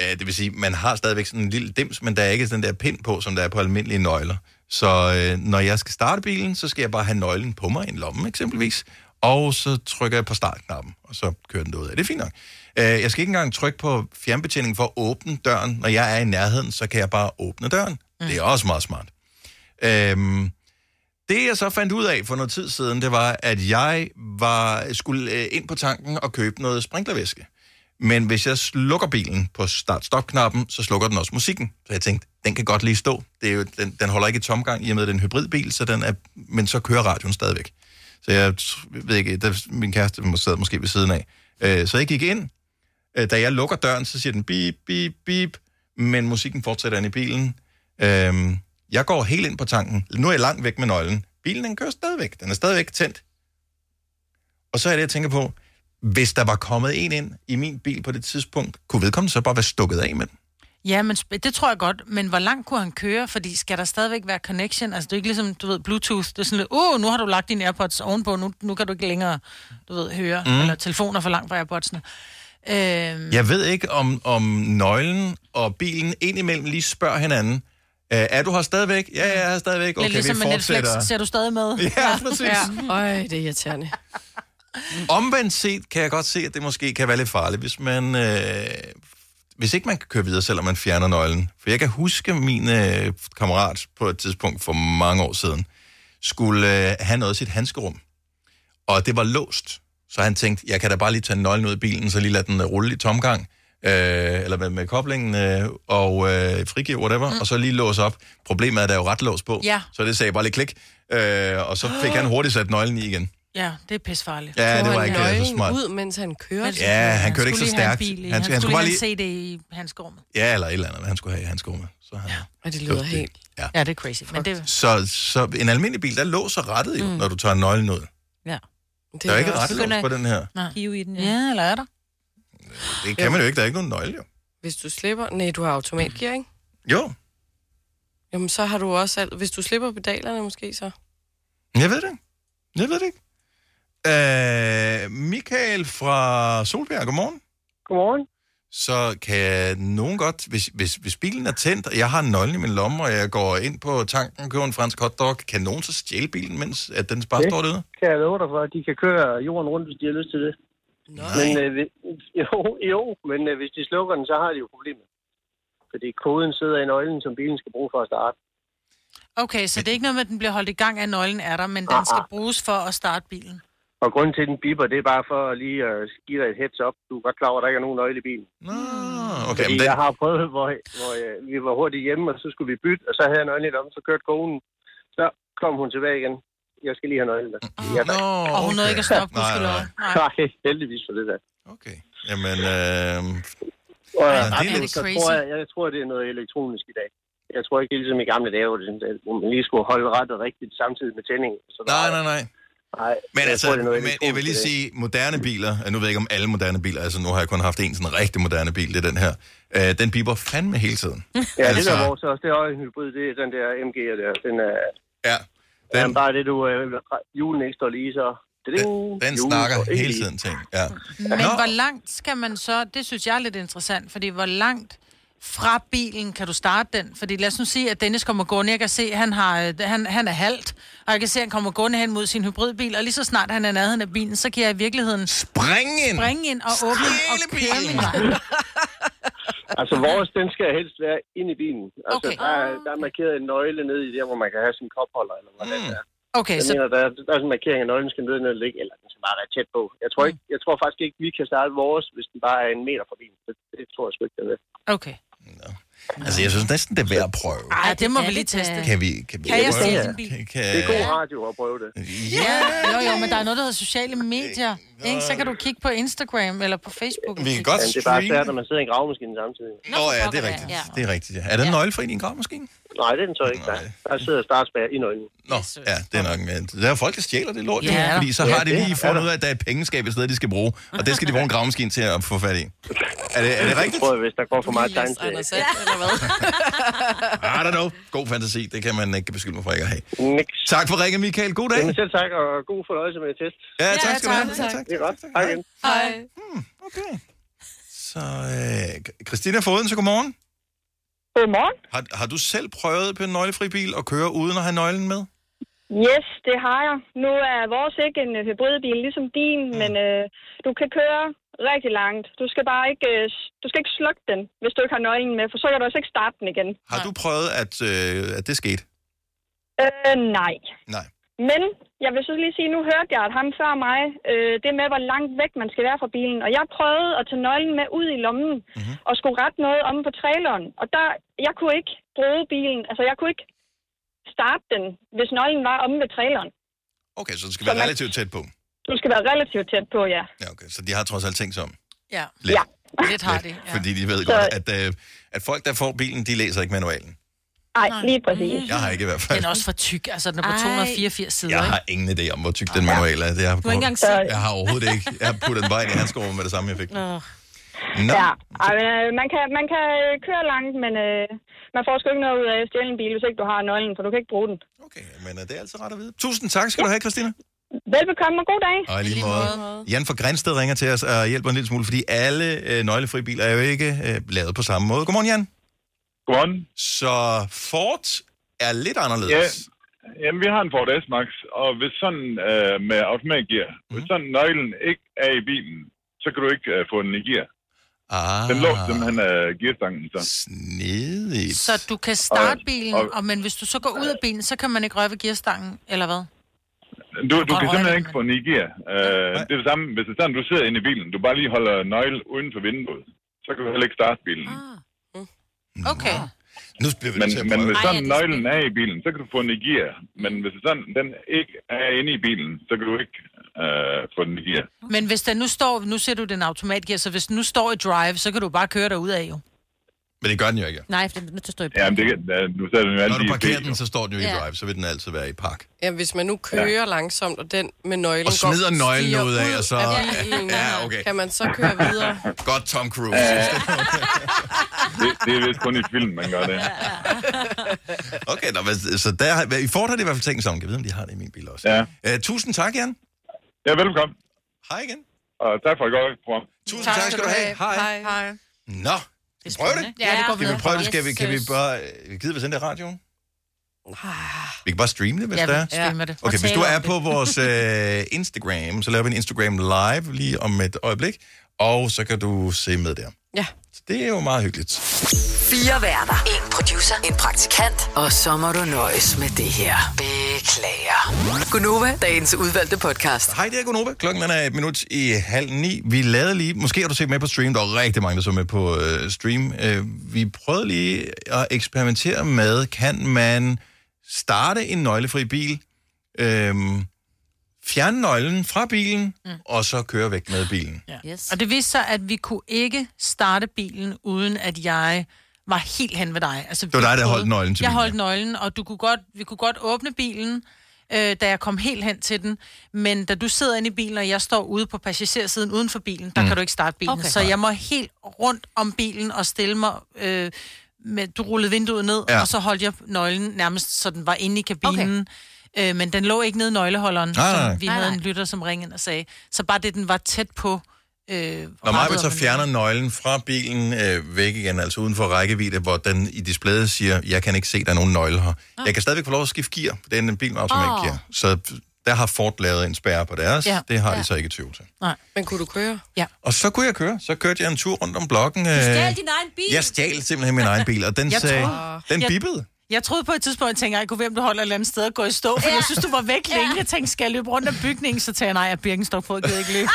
[SPEAKER 1] Øh, Det vil sige, man har stadigvæk sådan en lille dims, men der er ikke den der pind på, som der er på almindelige nøgler. Så øh, når jeg skal starte bilen, så skal jeg bare have nøglen på mig, i en lomme eksempelvis, og så trykker jeg på startknappen, og så kører den ud af. Det er fint nok. Øh, jeg skal ikke engang trykke på fjernbetjeningen for at åbne døren. Når jeg er i nærheden, så kan jeg bare åbne døren. Mm. Det er også meget smart. Øhm, det jeg så fandt ud af for noget tid siden, det var, at jeg var skulle øh, ind på tanken og købe noget sprinklervæske. Men hvis jeg slukker bilen på start-stop-knappen, så slukker den også musikken. Så jeg tænkte, den kan godt lige stå. Det er jo, den, den holder ikke i tomgang, i og med, at det er en hybridbil, så den er, men så kører radioen stadigvæk. Så jeg tr- ved ikke, der, min kæreste må- sad måske ved siden af. Øh, så jeg gik ind. Øh, da jeg lukker døren, så siger den bip, bip, bip, men musikken fortsætter inde i bilen. Øh, jeg går helt ind på tanken. Nu er jeg langt væk med nøglen. Bilen, den kører stadigvæk. Den er stadigvæk tændt. Og så er det, jeg tænker på, hvis der var kommet en ind i min bil på det tidspunkt, kunne vedkommende så bare være stukket af med den?
[SPEAKER 2] Ja, men sp- det tror jeg godt. Men hvor langt kunne han køre? Fordi skal der stadigvæk være connection? Altså, det er ikke ligesom, du ved, Bluetooth. Det er sådan lidt, uh, nu har du lagt dine AirPods ovenpå, nu, nu kan du ikke længere, du ved, høre.
[SPEAKER 1] Mm.
[SPEAKER 2] Mm. Eller telefoner for langt fra AirPodsene. Øhm,
[SPEAKER 1] Jeg ved ikke, om, om nøglen og bilen indimellem lige spørger hinanden, "Øh, er du her stadigvæk? Ja, jeg er her stadigvæk. Okay,
[SPEAKER 2] lidt ligesom
[SPEAKER 1] vi
[SPEAKER 2] med Netflix, ser
[SPEAKER 1] fortsætter.
[SPEAKER 2] du stadig med?
[SPEAKER 1] Ja, præcis.
[SPEAKER 4] Øj, det er irriterende.
[SPEAKER 1] Omvendt set kan jeg godt se, at det måske kan være lidt farligt, hvis man... Øh, hvis ikke man kan køre videre, selvom man fjerner nøglen. For jeg kan huske min øh, kammerat på et tidspunkt for mange år siden, skulle øh, have noget i sit handskerum. Og det var låst. Så han tænkte, jeg kan da bare lige tage nøglen ud af bilen, så lige lade den øh, rulle i tomgang, øh, eller med, med koblingen, øh, og øh, frigive whatever, mm. og så lige låse op. Problemet er, at der er jo ret lås på,
[SPEAKER 2] Ja.
[SPEAKER 1] så det sagde bare lige klik, øh, og så fik han hurtigt sat nøglen i igen.
[SPEAKER 2] Ja, det er pissefarligt.
[SPEAKER 1] Ja, det
[SPEAKER 4] Tog
[SPEAKER 1] var
[SPEAKER 4] han
[SPEAKER 1] ikke, øh, så
[SPEAKER 4] nøglen
[SPEAKER 1] smart.
[SPEAKER 4] ud, mens han kørte.
[SPEAKER 1] Ja, han kørte ikke så
[SPEAKER 2] skulle lige have en
[SPEAKER 1] stærkt.
[SPEAKER 2] bil i.
[SPEAKER 1] Han
[SPEAKER 2] Han,
[SPEAKER 1] skulle-
[SPEAKER 2] skulle,
[SPEAKER 1] han skulle bare
[SPEAKER 2] lige have en CD i hans gorm.
[SPEAKER 1] Ja, eller et eller andet, hvad han skulle have i hans gumme. Så han...
[SPEAKER 4] Og det
[SPEAKER 1] lyder
[SPEAKER 4] lyder
[SPEAKER 1] helt-
[SPEAKER 4] helt...
[SPEAKER 1] Ja.
[SPEAKER 2] ja, det er crazy. Men det,
[SPEAKER 1] Så, så en almindelig bil, der låser rettet jo, mm.
[SPEAKER 2] Mm.
[SPEAKER 1] når du tager nøglen ud.
[SPEAKER 2] ja.
[SPEAKER 1] Det Der er er ikke også- rettelås på den her.
[SPEAKER 2] Hive i den, ja. ja. eller er der?
[SPEAKER 1] Det kan
[SPEAKER 4] Jo.
[SPEAKER 1] man jo ikke, der er ikke nogen nøgle jo.
[SPEAKER 4] Hvis du slipper... Nej, du har automatgear, ikke?
[SPEAKER 1] Jo,
[SPEAKER 4] Jamen, så har du også alt... Hvis du slipper pedalerne måske, så...
[SPEAKER 1] jeg ved det. ikke. Jeg ved det ikke. Øh, Michael fra Solbjerg, godmorgen.
[SPEAKER 8] Godmorgen.
[SPEAKER 1] Så kan nogen godt, hvis, hvis, hvis bilen er tændt, og jeg har nøglen i min lomme, og jeg går ind på tanken og køber en fransk hotdog, kan nogen så stjæle bilen, mens at den bare
[SPEAKER 8] Det
[SPEAKER 1] står derude?
[SPEAKER 8] kan jeg love dig for. De kan køre jorden rundt, hvis de har lyst til det.
[SPEAKER 1] Nej.
[SPEAKER 8] Men, øh, vi- jo, jo, men øh, hvis de slukker den, så har de jo problemer. Fordi koden sidder i nøglen, som bilen skal bruge for at starte.
[SPEAKER 2] Okay, så det er ikke noget med, at den bliver holdt i gang af nøglen er der, men
[SPEAKER 1] Ah.
[SPEAKER 2] den skal bruges for at starte bilen.
[SPEAKER 8] Og grunden til, at den biber, det er bare for at lige øh, give dig et heads up. Du er godt klar over, at der ikke er nogen nøgle i bilen.
[SPEAKER 1] Ah,
[SPEAKER 8] Okay,
[SPEAKER 1] okay,
[SPEAKER 8] Fordi
[SPEAKER 1] men
[SPEAKER 8] den... jeg
[SPEAKER 1] den,
[SPEAKER 8] har prøvet, hvor, hvor øh, vi var hurtigt hjemme, og så skulle vi bytte, og så havde jeg nøglen om, så kørte konen. Så kom hun tilbage igen. Jeg skal lige have nøglen. Oh, ja,
[SPEAKER 1] no, Ah, Og hun nåede okay. ikke at stoppe, Nej, gudskelov. nej,
[SPEAKER 8] nej. nej, heldigvis for det der.
[SPEAKER 1] jamen, øh,
[SPEAKER 8] Og,
[SPEAKER 1] Ja,
[SPEAKER 8] ja,
[SPEAKER 1] det er
[SPEAKER 8] det er
[SPEAKER 1] lidt
[SPEAKER 8] så
[SPEAKER 1] crazy.
[SPEAKER 8] tror jeg, jeg tror, det er noget elektronisk i dag. Jeg tror ikke, det er ligesom i gamle dage, hvor, det, hvor man lige skulle holde ret og rigtigt samtidig med tændingen. Så der-
[SPEAKER 1] Nej, nej, nej.
[SPEAKER 8] nej.
[SPEAKER 1] Men
[SPEAKER 8] jeg
[SPEAKER 1] altså,
[SPEAKER 8] tror, det er noget
[SPEAKER 1] men jeg vil lige
[SPEAKER 8] elektronisk i dag.
[SPEAKER 1] sige, moderne biler, øh, nu ved jeg ikke om alle moderne biler, altså nu har jeg kun haft en sådan rigtig moderne bil, det er den her, øh, den biber fandme hele tiden.
[SPEAKER 8] Ja, det
[SPEAKER 1] altså-
[SPEAKER 8] der vores også, det er også en hybrid, det er den der MG'er der. Den er,
[SPEAKER 1] ja,
[SPEAKER 8] den, den bare det, du øh, julen ikke står lige, så... Den,
[SPEAKER 1] Den snakker hele tiden ting. Ja.
[SPEAKER 2] Men hvor langt skal man så, det synes jeg er lidt interessant, fordi hvor langt fra bilen kan du starte den? Fordi lad os nu sige, at Dennis kommer gående, jeg kan se, han, har, øh, han, han er halvt, og jeg kan se, at han kommer gående hen mod sin hybridbil, og lige så snart han er i nærheden af bilen, så kan jeg i virkeligheden
[SPEAKER 1] springe
[SPEAKER 8] ind!
[SPEAKER 2] springe ind og åbne den og køre min vej.
[SPEAKER 8] Altså vores, den skal helst være inde i bilen. Altså okay. der, er- der er markeret en nøgle nede i der, hvor man kan have sin kopholder, eller hvordan
[SPEAKER 1] Mm.
[SPEAKER 8] det er.
[SPEAKER 2] Okay,
[SPEAKER 8] jeg
[SPEAKER 2] så-
[SPEAKER 8] mener, der, er- der er sådan en markering af nøglen, skal ned ned ligge, eller den skal bare være tæt på. Jeg
[SPEAKER 2] Mm.
[SPEAKER 8] tror, ikke, jeg tror faktisk ikke, vi kan starte vores, hvis den bare er en meter fra bilen. Det, det tror jeg sgu ikke, den er.
[SPEAKER 2] Okay.
[SPEAKER 1] Altså, jeg synes næsten, det er værd at prøve.
[SPEAKER 2] Ej, det øh, må vi lige teste.
[SPEAKER 1] Kan vi, kan vi
[SPEAKER 2] Kan jeg
[SPEAKER 1] prøve
[SPEAKER 2] sælge
[SPEAKER 1] det?
[SPEAKER 2] din bil?
[SPEAKER 1] Kan,
[SPEAKER 8] Det er god
[SPEAKER 1] kan,
[SPEAKER 8] radio at prøve det.
[SPEAKER 2] Ja, jo, jo, men der er noget, der hedder sociale medier. Ikke? Så kan du kigge på Instagram eller på Facebook.
[SPEAKER 1] vi kan godt
[SPEAKER 8] Jamen, det er bare svært, når man sidder i en gravemaskine samtidig.
[SPEAKER 1] Nå, ja, det er rigtigt.
[SPEAKER 2] Ja.
[SPEAKER 1] Det er rigtigt, ja. Er der en nøgle i din gravmaskine?
[SPEAKER 8] Nej, det er den så ikke. Der, der sidder startspær i nøglen.
[SPEAKER 1] Nå, ja, det er nok en... Der er folk, der stjæler det lort,
[SPEAKER 8] Ja,
[SPEAKER 1] ja.
[SPEAKER 8] er der.
[SPEAKER 1] fordi så
[SPEAKER 8] Ja,
[SPEAKER 1] har de
[SPEAKER 8] det
[SPEAKER 1] lige
[SPEAKER 8] er
[SPEAKER 1] fundet
[SPEAKER 8] der.
[SPEAKER 1] ud af, at der er et pengeskab et sted, de skal bruge, og det skal de bruge en gravmaskine til at få fat i. Er det, er det rigtigt?
[SPEAKER 8] Jeg tror, hvis der går for meget tegn til.
[SPEAKER 4] Anders Sand, eller hvad?
[SPEAKER 1] I don't know. God fantasi, det kan man ikke beskylde mig for ikke at have. Nix. Tak for ringen, Michael. God dag.
[SPEAKER 8] Jamen selv tak, og god fornøjelse med test.
[SPEAKER 1] Ja, tak Ja, skal du tak, have. tak. Ja,
[SPEAKER 8] Det er godt. Hej igen.
[SPEAKER 2] Hej.
[SPEAKER 1] Så, øh, Christina Foden, så godmorgen.
[SPEAKER 16] Godmorgen.
[SPEAKER 1] Har, har du selv prøvet på en nøglefri bil at køre uden at have nøglen med?
[SPEAKER 16] Yes, det har jeg. Nu er vores ikke en øh, hybridbil ligesom din,
[SPEAKER 1] Mm.
[SPEAKER 16] men øh, du kan køre rigtig langt. Du skal bare ikke, øh, s- du skal ikke slukke den, hvis du ikke har nøglen med, for så kan du altså ikke starte den igen.
[SPEAKER 1] Har du prøvet, at, øh, at det skete?
[SPEAKER 16] Øh, nej.
[SPEAKER 1] Nej.
[SPEAKER 16] Men jeg vil så lige sige, nu hørte jeg, at ham før mig, øh, det med, hvor langt væk man skal være fra bilen. Og jeg prøvede at tage nøglen med ud i lommen mm-hmm. og skulle rette noget om på traileren. Og der, jeg kunne ikke bruge bilen. Altså, jeg kunne ikke starte den, hvis nøglen var omme ved traileren.
[SPEAKER 1] Okay, så det skal være relativt tæt på.
[SPEAKER 16] Du skal være relativt tæt på, ja.
[SPEAKER 1] Ja, okay. Så de har trods alt tænkt sig om.
[SPEAKER 2] Ja.
[SPEAKER 1] Lidt.
[SPEAKER 16] ja.
[SPEAKER 2] Lidt har det.
[SPEAKER 1] Ja. Fordi de ved
[SPEAKER 16] Så-
[SPEAKER 1] godt, at, øh, at folk, der får bilen, de læser ikke manualen.
[SPEAKER 16] Ej, lige præcis.
[SPEAKER 1] Jeg har ikke i hvert fald.
[SPEAKER 2] Den er også for tyk. Altså, den er på
[SPEAKER 16] Ej.
[SPEAKER 2] 284 sider,
[SPEAKER 1] Jeg
[SPEAKER 2] ikke?
[SPEAKER 1] har ingen idé om, hvor tyk den manual er. Det har,
[SPEAKER 2] ikke engang set.
[SPEAKER 1] Jeg har overhovedet ikke. Jeg har puttet den bare ind i handskerummet med det samme, jeg fik. den. Nå,
[SPEAKER 16] Ja, Ej, men, øh, man, kan, man kan øh, køre langt, men øh, man får sgu ikke noget ud af at stjæle en bil, hvis ikke du har nøglen, for du kan ikke bruge den.
[SPEAKER 1] men øh, det er altid ret at vide. Tusind tak skal du have, Christina.
[SPEAKER 16] Velbekomme og god dag.
[SPEAKER 1] Og i lige måde. Jan fra Grænsted ringer til os og hjælper en lille smule, fordi alle øh, nøglefri biler er jo ikke øh, lavet på samme måde. Godmorgen, Jan.
[SPEAKER 17] Godmorgen.
[SPEAKER 1] Så Ford er lidt anderledes.
[SPEAKER 17] Jamen, vi har en Ford S-Max, og hvis sådan øh, med automatgear,
[SPEAKER 1] Mhm.
[SPEAKER 17] mm. hvis sådan nøglen ikke er i bilen, så kan du ikke øh, få den i gear.
[SPEAKER 1] Ah.
[SPEAKER 17] Den låser simpelthen øh, gearstangen. Så.
[SPEAKER 1] Snedigt.
[SPEAKER 2] Så du kan starte
[SPEAKER 17] Og-
[SPEAKER 2] bilen,
[SPEAKER 17] og-
[SPEAKER 2] og, men hvis du så går ud af bilen, så kan man ikke røre ved gearstangen, eller hvad?
[SPEAKER 17] Du, du
[SPEAKER 2] Godt
[SPEAKER 17] kan
[SPEAKER 2] rørt,
[SPEAKER 17] simpelthen ikke få den i gear. Øh, det er det samme, hvis det er sådan, du sidder inde i bilen, du bare lige holder nøgle uden for vinduet, så kan du heller ikke starte bilen.
[SPEAKER 2] Ah. Okay.
[SPEAKER 1] Nu bliver vi
[SPEAKER 17] men,
[SPEAKER 1] nødt til at
[SPEAKER 17] men
[SPEAKER 1] prøve.
[SPEAKER 17] hvis
[SPEAKER 1] Ej,
[SPEAKER 17] sådan
[SPEAKER 1] ja, det er
[SPEAKER 17] nøglen er i bilen, så kan du få den i gear. Men hvis sådan den ikke er inde i bilen, så kan du ikke øh, få den i gear.
[SPEAKER 2] Men hvis den nu står, nu ser du den automatgear, så hvis den nu står i drive, så kan du bare køre derud af jo.
[SPEAKER 1] Men det gør den jo ikke.
[SPEAKER 2] Nej, for den er nødt til at stå i
[SPEAKER 17] Ja, men det kan, øh, nu sætter den jo
[SPEAKER 1] Når
[SPEAKER 17] altid
[SPEAKER 1] du
[SPEAKER 17] i
[SPEAKER 1] parkerer
[SPEAKER 17] bil,
[SPEAKER 1] den, så står den jo i
[SPEAKER 4] Ja.
[SPEAKER 1] drive, så vil den altid være i park.
[SPEAKER 4] Ja, hvis man nu kører ja. langsomt, og den med nøglen
[SPEAKER 1] Og smider
[SPEAKER 4] går,
[SPEAKER 1] nøglen
[SPEAKER 4] stiger
[SPEAKER 1] ud af, og så-
[SPEAKER 4] bilen,
[SPEAKER 1] Ja, okay.
[SPEAKER 4] Kan man så køre videre?
[SPEAKER 1] Godt, Tom Cruise.
[SPEAKER 17] det, det er vist kun i film, man gør det.
[SPEAKER 1] Okay, nå, men så der, har- i Ford har de i hvert fald tænkt sig om. Jeg ved, om de har det i min bil også. Ja. Uh, tusind tak, Jan.
[SPEAKER 17] Ja, velkommen.
[SPEAKER 1] Hej igen.
[SPEAKER 17] Og tak for et godt program.
[SPEAKER 1] Tusind tak, tak skal du have. Hej.
[SPEAKER 2] Hej.
[SPEAKER 1] Nå, det prøv det.
[SPEAKER 2] Ja, det går
[SPEAKER 1] Skal vi
[SPEAKER 2] videre.
[SPEAKER 1] prøve det? Skal vi,
[SPEAKER 2] Yes,
[SPEAKER 1] kan vi
[SPEAKER 2] yes.
[SPEAKER 1] bare... øh, Gider vi sende det i radioen?
[SPEAKER 2] Ah.
[SPEAKER 1] Vi kan bare streame det, hvis
[SPEAKER 2] Ja, vi
[SPEAKER 1] det er.
[SPEAKER 2] streamer det.
[SPEAKER 1] Okay,
[SPEAKER 2] Og
[SPEAKER 1] hvis du
[SPEAKER 2] taler
[SPEAKER 1] er
[SPEAKER 2] om
[SPEAKER 1] på
[SPEAKER 2] det.
[SPEAKER 1] vores øh, Instagram, så laver vi en Instagram live lige om et øjeblik, og så kan du se med der.
[SPEAKER 4] Ja.
[SPEAKER 1] Så det er jo meget hyggeligt.
[SPEAKER 5] Fire værter. En producer. En praktikant. Og så må du nøjes med det her. Beklager. Gunova, dagens udvalgte podcast.
[SPEAKER 1] Hej, det er Gunova. Klokken den er et minut i halv ni. Vi lavede lige, måske har du set med på stream, der var rigtig mange, der så med på øh, stream. Øh, vi prøvede lige at eksperimentere med, kan man starte en nøglefri bil, øh, fjerne nøglen fra bilen, mm. og så køre væk med bilen.
[SPEAKER 2] Ja. Yes. Og det viste sig, at vi kunne ikke starte bilen, uden at jeg var helt hen ved dig. Altså,
[SPEAKER 1] Det var
[SPEAKER 2] vi
[SPEAKER 1] dig, der
[SPEAKER 2] kunne-
[SPEAKER 1] holdt nøglen til
[SPEAKER 2] Jeg
[SPEAKER 1] bilen,
[SPEAKER 2] holdt nøglen, og du kunne godt, vi kunne godt åbne bilen, øh, da jeg kom helt hen til den. Men da du sidder inde i bilen, og jeg står ude på passagersiden uden for bilen, der
[SPEAKER 18] Mm.
[SPEAKER 2] mm. kan du ikke starte bilen.
[SPEAKER 18] Okay.
[SPEAKER 2] Okay. Så jeg må helt rundt om bilen og stille mig... Øh, med, du rullede vinduet ned,
[SPEAKER 1] Ja.
[SPEAKER 2] ja. og så holdt jeg nøglen nærmest, så den var inde i kabinen. Okay. Øh, men den lå ikke nede i nøgleholderen,
[SPEAKER 1] Nej, nej, nej.
[SPEAKER 2] som vi
[SPEAKER 1] Nej,
[SPEAKER 2] havde
[SPEAKER 1] nej.
[SPEAKER 2] en lytter, som ringede ind og sagde. Så bare det, den var tæt på... Øh,
[SPEAKER 1] Når Maja så
[SPEAKER 2] rettet,
[SPEAKER 1] fjerner nøglen fra bilen øh, væk igen, altså uden for rækkevidde, hvor den i displayet siger, jeg kan ikke se, der er nogen nøgle her. Ah. Jeg kan stadigvæk få lov at skifte gear, for det er en bil med automatgear.
[SPEAKER 4] Åh.
[SPEAKER 1] Så der har Ford lavet en spærre på deres, ja.
[SPEAKER 4] Ja.
[SPEAKER 1] det har ja.
[SPEAKER 4] Ja.
[SPEAKER 1] de så ikke i Toyota.
[SPEAKER 2] Nej.
[SPEAKER 4] Men kunne du køre?
[SPEAKER 2] Ja.
[SPEAKER 1] Og så kunne jeg køre. Så kørte jeg en tur rundt om blokken. Øh,
[SPEAKER 4] stjal din egen bil?
[SPEAKER 1] Jeg stjal simpelthen min egen bil, og den,
[SPEAKER 2] Jeg
[SPEAKER 1] sagde,
[SPEAKER 2] troede-
[SPEAKER 1] den
[SPEAKER 2] Jeg-
[SPEAKER 1] bippede.
[SPEAKER 2] Jeg troede på et tidspunkt, jeg tænkte, jeg kunne hvem du holder et eller andet sted og gå i stå, for ja. jeg synes, du var væk længe. Jeg tænkte, skal jeg løbe rundt om bygningen, så tager jeg, nej, jeg er Birkenstock på, jeg gider ikke løbe.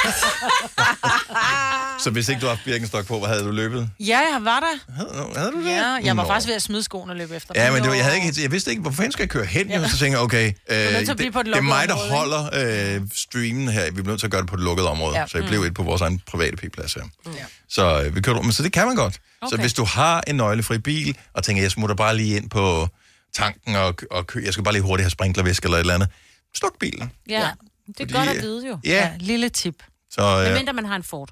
[SPEAKER 1] Så hvis ikke du har haft Birkenstock på, hvor havde du løbet?
[SPEAKER 2] Ja, jeg var der.
[SPEAKER 1] Havde, havde du det?
[SPEAKER 2] Ja, jeg var
[SPEAKER 1] Nå.
[SPEAKER 2] faktisk ved at smide skoene og løbe efter.
[SPEAKER 1] Ja,
[SPEAKER 2] dem.
[SPEAKER 1] men det var, jeg, havde ikke, jeg vidste ikke, hvor fanden skal jeg køre hen? Ja. Så tænker jeg, okay, øh,
[SPEAKER 2] nødt til
[SPEAKER 1] det,
[SPEAKER 2] at blive
[SPEAKER 1] det
[SPEAKER 2] på et
[SPEAKER 1] er
[SPEAKER 2] lukket
[SPEAKER 1] mig, der
[SPEAKER 2] område,
[SPEAKER 1] holder øh, streamen her. Vi bliver nødt til at gøre det på et lukket område.
[SPEAKER 2] Ja. Mm.
[SPEAKER 1] Ja. Så jeg blev et på vores egen private p-plads her.
[SPEAKER 2] Ja.
[SPEAKER 1] Så, øh, vi kører, rundt. men så det kan man godt. Okay.
[SPEAKER 2] Okay.
[SPEAKER 1] Så hvis du har en nøglefri bil, og tænker, jeg smutter bare lige ind på tanken, og, og kø, jeg skal bare lige hurtigt have sprinklervæsk eller et eller andet. Stuk bilen.
[SPEAKER 3] Ja, ja. det er
[SPEAKER 1] Fordi,
[SPEAKER 3] godt at
[SPEAKER 1] øh,
[SPEAKER 3] vide jo.
[SPEAKER 1] ja.
[SPEAKER 2] lille tip.
[SPEAKER 1] Så, øh,
[SPEAKER 3] Men mindre man har en Ford.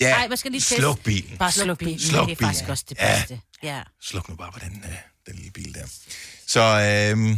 [SPEAKER 1] ja,
[SPEAKER 3] Ej, man skal lige teste.
[SPEAKER 1] sluk bilen.
[SPEAKER 3] Bare sluk bilen.
[SPEAKER 1] Sluk
[SPEAKER 3] det er
[SPEAKER 1] bilen.
[SPEAKER 3] faktisk også det
[SPEAKER 1] Ja.
[SPEAKER 3] bedste. Ja.
[SPEAKER 1] Sluk nu bare på den, øh, den lille bil der. Så øh,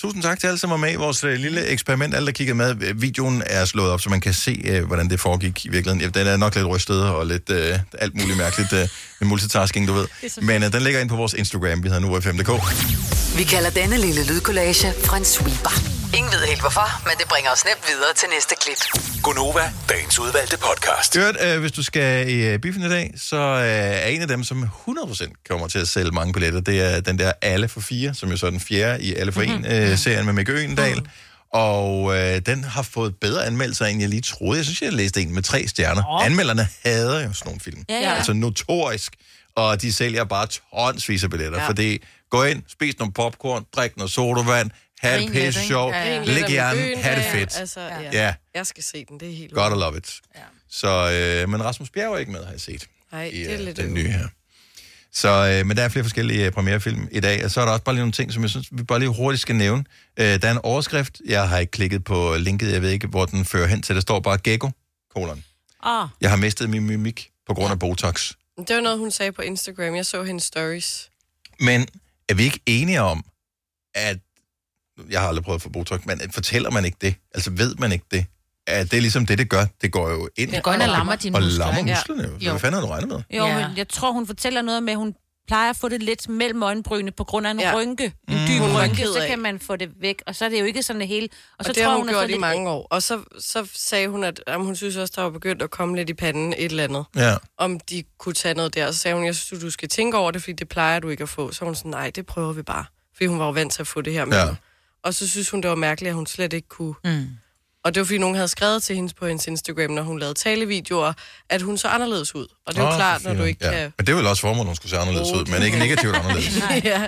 [SPEAKER 1] tusind tak til alle, som var med i vores øh, lille eksperiment. Alle, der kiggede med. Øh, Videoen er slået op, så man kan se, øh, hvordan det foregik i virkeligheden. Ja, Den er nok lidt rystet og lidt øh, alt muligt mærkeligt øh, med multitasking, du ved. Men øh, den ligger ind på vores Instagram. Vi hedder nu 5.dk.
[SPEAKER 5] Vi kalder denne lille lydkollage en sweeper. Ingen ved helt hvorfor, men det bringer os nemt videre til næste klip.
[SPEAKER 7] Gunova, dagens udvalgte podcast.
[SPEAKER 1] Øvrigt, øh, hvis du skal i øh, biffen i dag, så øh, er en af dem, som 100% kommer til at sælge mange billetter, det er den der Alle for Fire, som jo så er den fjerde i Alle for
[SPEAKER 4] Mhm.
[SPEAKER 1] En-serien mm-hmm. øh, serien med Mikke Øgendal. Mm. Og øh, den har fået bedre anmeldelser, end jeg lige troede. Jeg synes, jeg læste en med tre stjerner. Oh. Anmelderne hader jo sådan nogle film.
[SPEAKER 19] Ja, ja.
[SPEAKER 1] Altså notorisk. Og de sælger bare tonsvis af billetter.
[SPEAKER 19] Ja.
[SPEAKER 1] Ja. Fordi gå ind, spis nogle popcorn, drik noget sodavand, have
[SPEAKER 4] Grin
[SPEAKER 1] det
[SPEAKER 4] lidt,
[SPEAKER 1] pisse
[SPEAKER 4] ikke?
[SPEAKER 1] sjovt,
[SPEAKER 4] Ja, ja.
[SPEAKER 1] læg
[SPEAKER 4] Lidt om
[SPEAKER 1] hjernen,
[SPEAKER 4] byen,
[SPEAKER 1] have det
[SPEAKER 4] ja, ja.
[SPEAKER 1] fedt.
[SPEAKER 4] Altså, ja.
[SPEAKER 1] Ja.
[SPEAKER 4] Jeg skal se den, det er helt
[SPEAKER 1] Godt og love it. Ja. Så, øh, men Rasmus Bjerg er ikke med, har jeg set.
[SPEAKER 4] Nej,
[SPEAKER 1] i,
[SPEAKER 4] det er
[SPEAKER 1] øh,
[SPEAKER 4] lidt
[SPEAKER 1] den nye her. Så, øh, men der er flere forskellige øh, premierefilm i dag, og så er der også bare lige nogle ting, som jeg synes, vi bare lige hurtigt skal nævne. Øh, der er en overskrift, jeg har ikke klikket på linket, jeg ved ikke, hvor den fører hen til. Der står bare Gecko, kolon.
[SPEAKER 3] Ah,
[SPEAKER 1] Jeg har mistet min mimik på grund af Botox.
[SPEAKER 4] Det var noget, hun sagde på Instagram. Jeg så hendes stories.
[SPEAKER 1] Men er vi ikke enige om, at... Jeg har aldrig prøvet at få Botox, men at fortæller man ikke det? Altså ved man ikke det? At det er ligesom det, det gør. Det går jo ind.
[SPEAKER 3] Det går ind og lammer dine
[SPEAKER 1] og
[SPEAKER 3] muskler,
[SPEAKER 1] lammer
[SPEAKER 3] ikke? Ja.
[SPEAKER 1] musklerne. Jo.
[SPEAKER 3] Jo.
[SPEAKER 1] Hvad fanden har du regnet med?
[SPEAKER 3] jo, ja. men jeg tror, hun fortæller noget med, at hun plejer at få det lidt mellem øjenbrynene på grund af en ja. rynke. En
[SPEAKER 4] Mm.
[SPEAKER 3] dyb
[SPEAKER 4] Hun
[SPEAKER 3] mm.
[SPEAKER 4] var
[SPEAKER 3] rynke,
[SPEAKER 4] ked
[SPEAKER 3] så
[SPEAKER 4] af.
[SPEAKER 3] kan man få det væk. Og så er det jo ikke sådan det hele.
[SPEAKER 4] Og,
[SPEAKER 3] så
[SPEAKER 4] så det har hun,
[SPEAKER 3] har fået
[SPEAKER 4] gjort i
[SPEAKER 3] lidt-
[SPEAKER 4] mange år. Og så, så sagde hun, at jamen, hun synes også, der var begyndt at komme lidt i panden et eller andet.
[SPEAKER 1] Ja.
[SPEAKER 4] Om de kunne tage noget der. Og så sagde hun, jeg synes, du skal tænke over det, fordi det plejer du ikke at få. Så var hun sådan, nej, det prøver vi bare. Fordi hun var jo vant til at få det her med.
[SPEAKER 1] Ja.
[SPEAKER 4] Og så synes hun, det var mærkeligt, at hun slet ikke kunne.
[SPEAKER 2] Mm.
[SPEAKER 4] Og det var, fordi nogen havde skrevet til hende på hendes Instagram, når hun lavede talevideoer, at hun så anderledes ud. Og det er jo
[SPEAKER 1] Åh,
[SPEAKER 4] klart,
[SPEAKER 1] for
[SPEAKER 4] når du
[SPEAKER 1] filan.
[SPEAKER 4] ikke
[SPEAKER 1] ja.
[SPEAKER 4] kan...
[SPEAKER 1] Men det er vel også formålet, hun skulle se anderledes ud, men ikke negativt anderledes.
[SPEAKER 4] ja.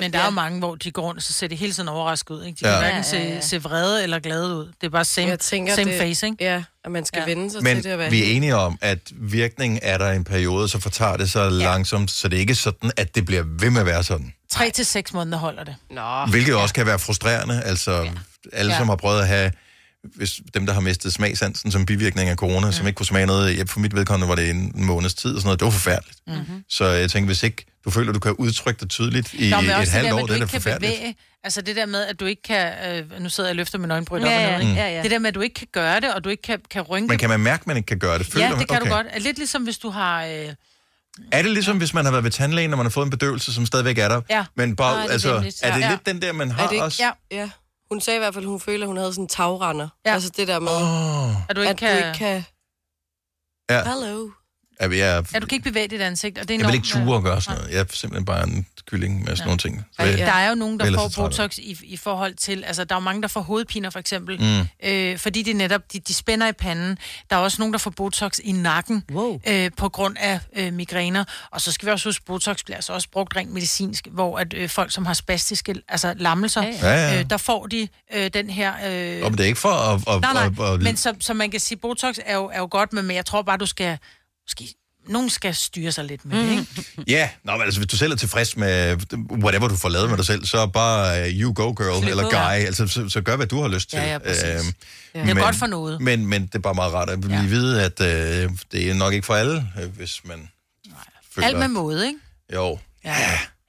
[SPEAKER 2] Men der er jo mange, hvor de går rundt, og så ser det hele tiden overrasket ud. Ikke? De
[SPEAKER 1] Ja.
[SPEAKER 2] ja. kan hverken
[SPEAKER 4] Ja, ja, ja.
[SPEAKER 2] se, se vrede eller glade ud. Det er bare same,
[SPEAKER 4] Jeg tænker,
[SPEAKER 2] same
[SPEAKER 4] det-
[SPEAKER 2] face, ikke?
[SPEAKER 4] Ja, at man skal ja. vende sig til det at være
[SPEAKER 1] Men vi
[SPEAKER 4] helt-
[SPEAKER 1] er enige om, at virkningen er der i en periode, så fortager det sig ja. langsomt, så det er ikke sådan, at det bliver ved med at være sådan.
[SPEAKER 2] 3 til 6 måneder holder det.
[SPEAKER 4] Nå.
[SPEAKER 1] Hvilket også kan være frustrerende. Altså, ja. alle,
[SPEAKER 2] Ah. Ja.
[SPEAKER 1] som har prøvet at have hvis dem, der har mistet smagsansen som bivirkning af corona, mm. som ikke kunne smage noget, ja, for mit vedkommende var det en måneds tid og sådan noget, det var forfærdeligt. Mm-hmm. Så jeg tænker, hvis ikke du føler, du kan udtrykke dig tydeligt i
[SPEAKER 2] Nå, men
[SPEAKER 1] et
[SPEAKER 2] også det
[SPEAKER 1] halvt
[SPEAKER 2] der med,
[SPEAKER 1] år,
[SPEAKER 2] at du
[SPEAKER 1] det er da
[SPEAKER 2] ikke kan
[SPEAKER 1] forfærdeligt.
[SPEAKER 2] bevæge. Altså det der med, at du ikke kan... Øh, nu sidder jeg og løfter min øjenbryn
[SPEAKER 3] Ja,
[SPEAKER 2] op
[SPEAKER 3] ja,
[SPEAKER 2] og ned, ikke?
[SPEAKER 3] ja, ja.
[SPEAKER 2] Det der med, at du ikke kan gøre det, og du ikke kan, kan rynke...
[SPEAKER 1] Men kan man mærke, at man ikke kan gøre det? Føler
[SPEAKER 2] ja,
[SPEAKER 1] man-
[SPEAKER 2] det kan okay.
[SPEAKER 1] okay.
[SPEAKER 2] du godt. Er Lidt ligesom hvis du har... Øh,
[SPEAKER 1] Er det ligesom, hvis man har været ved tandlægen, og man har fået en bedøvelse, som stadigvæk er der?
[SPEAKER 2] Ja.
[SPEAKER 1] Men bare,
[SPEAKER 4] Nej, det er
[SPEAKER 1] altså,
[SPEAKER 4] vemmeligt.
[SPEAKER 1] er det
[SPEAKER 4] Ja.
[SPEAKER 1] lidt den der, man har
[SPEAKER 4] er det ikke,
[SPEAKER 1] også?
[SPEAKER 4] Ja, ja. Hun sagde i hvert fald, at hun føler, at hun havde sådan en tagrender. Ja. Altså det der med,
[SPEAKER 1] oh.
[SPEAKER 2] at du ikke
[SPEAKER 4] at
[SPEAKER 2] kan...
[SPEAKER 4] du ikke kan...
[SPEAKER 1] Ja.
[SPEAKER 4] Hello.
[SPEAKER 1] Er vi, jeg,
[SPEAKER 2] Ja, du kan ikke bevæge dit ansigt, og det er
[SPEAKER 1] jeg vil
[SPEAKER 2] enormt-
[SPEAKER 1] ikke ture at gøre sådan noget. Jeg er simpelthen bare en kylling med sådan nogle ting. Så
[SPEAKER 2] Ej,
[SPEAKER 1] jeg-
[SPEAKER 2] Der er jo nogen, der
[SPEAKER 1] ellers
[SPEAKER 2] får
[SPEAKER 1] så træt af
[SPEAKER 2] Botox i, i forhold til... Altså, der er jo mange, der får hovedpiner, for eksempel.
[SPEAKER 1] Mm.
[SPEAKER 2] Mm. Øh, fordi de netop de, de spænder i panden. Der er også nogen, der får Botox i nakken wow. øh, på grund af øh, migræner. Og så skal vi også huske, Botox bliver altså også brugt rent medicinsk, hvor at øh, folk, som har spastiske altså lammelser,
[SPEAKER 1] ja. Ja, ja.
[SPEAKER 2] Øh, der får de øh, den her... Øh,
[SPEAKER 1] det. Og men det er ikke for at... at,
[SPEAKER 2] nej,
[SPEAKER 1] at,
[SPEAKER 2] nej,
[SPEAKER 1] at
[SPEAKER 2] men så, så man kan sige, Botox er jo, er jo godt, men men jeg tror bare, du skal... Måske, nogen skal styre sig lidt med mm. det, ikke?
[SPEAKER 1] Ja, Nå, men altså, hvis du selv er tilfreds med whatever du får lavet med dig selv, så bare uh, you go girl
[SPEAKER 2] Flip
[SPEAKER 1] eller
[SPEAKER 2] ud,
[SPEAKER 1] guy.
[SPEAKER 2] ja.
[SPEAKER 1] Altså, så, så gør, hvad du har lyst til.
[SPEAKER 2] Ja, ja, præcis.
[SPEAKER 1] ja.
[SPEAKER 2] Det er godt for noget.
[SPEAKER 1] Men, men det er bare meget rart at lige ja. vide, at øh, det er nok ikke for alle, øh, hvis man føler...
[SPEAKER 2] Alt med måde, ikke?
[SPEAKER 1] Jo. Ja.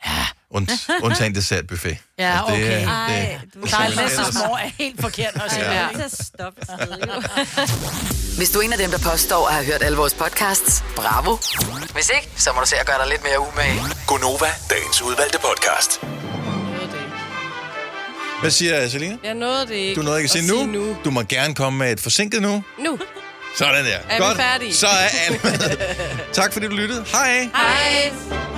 [SPEAKER 1] ja. Und, undtagen dessertbuffet.
[SPEAKER 2] Ja,
[SPEAKER 1] Og det-
[SPEAKER 2] okay.
[SPEAKER 1] det-
[SPEAKER 2] Ej, du
[SPEAKER 1] det-
[SPEAKER 2] er
[SPEAKER 1] det-
[SPEAKER 2] lidt
[SPEAKER 1] ellers-
[SPEAKER 2] så små er helt forkert at sige.
[SPEAKER 5] Ja.
[SPEAKER 2] Ja.
[SPEAKER 3] Stop.
[SPEAKER 5] Hvis du er en af dem, der påstår at have hørt alle vores podcasts, bravo. Hvis ikke, så må du se at gøre dig lidt mere umage.
[SPEAKER 7] Gunova, dagens udvalgte podcast.
[SPEAKER 1] Hvad siger Selina?
[SPEAKER 4] Jeg nåede det ikke.
[SPEAKER 1] Du nåede ikke at sige nu. nu. Du må gerne komme med et forsinket nu.
[SPEAKER 4] Nu
[SPEAKER 1] Sådan der.
[SPEAKER 4] er vi færdige.
[SPEAKER 1] Så er alle med. Tak fordi du lyttede. Hej.
[SPEAKER 4] Hej.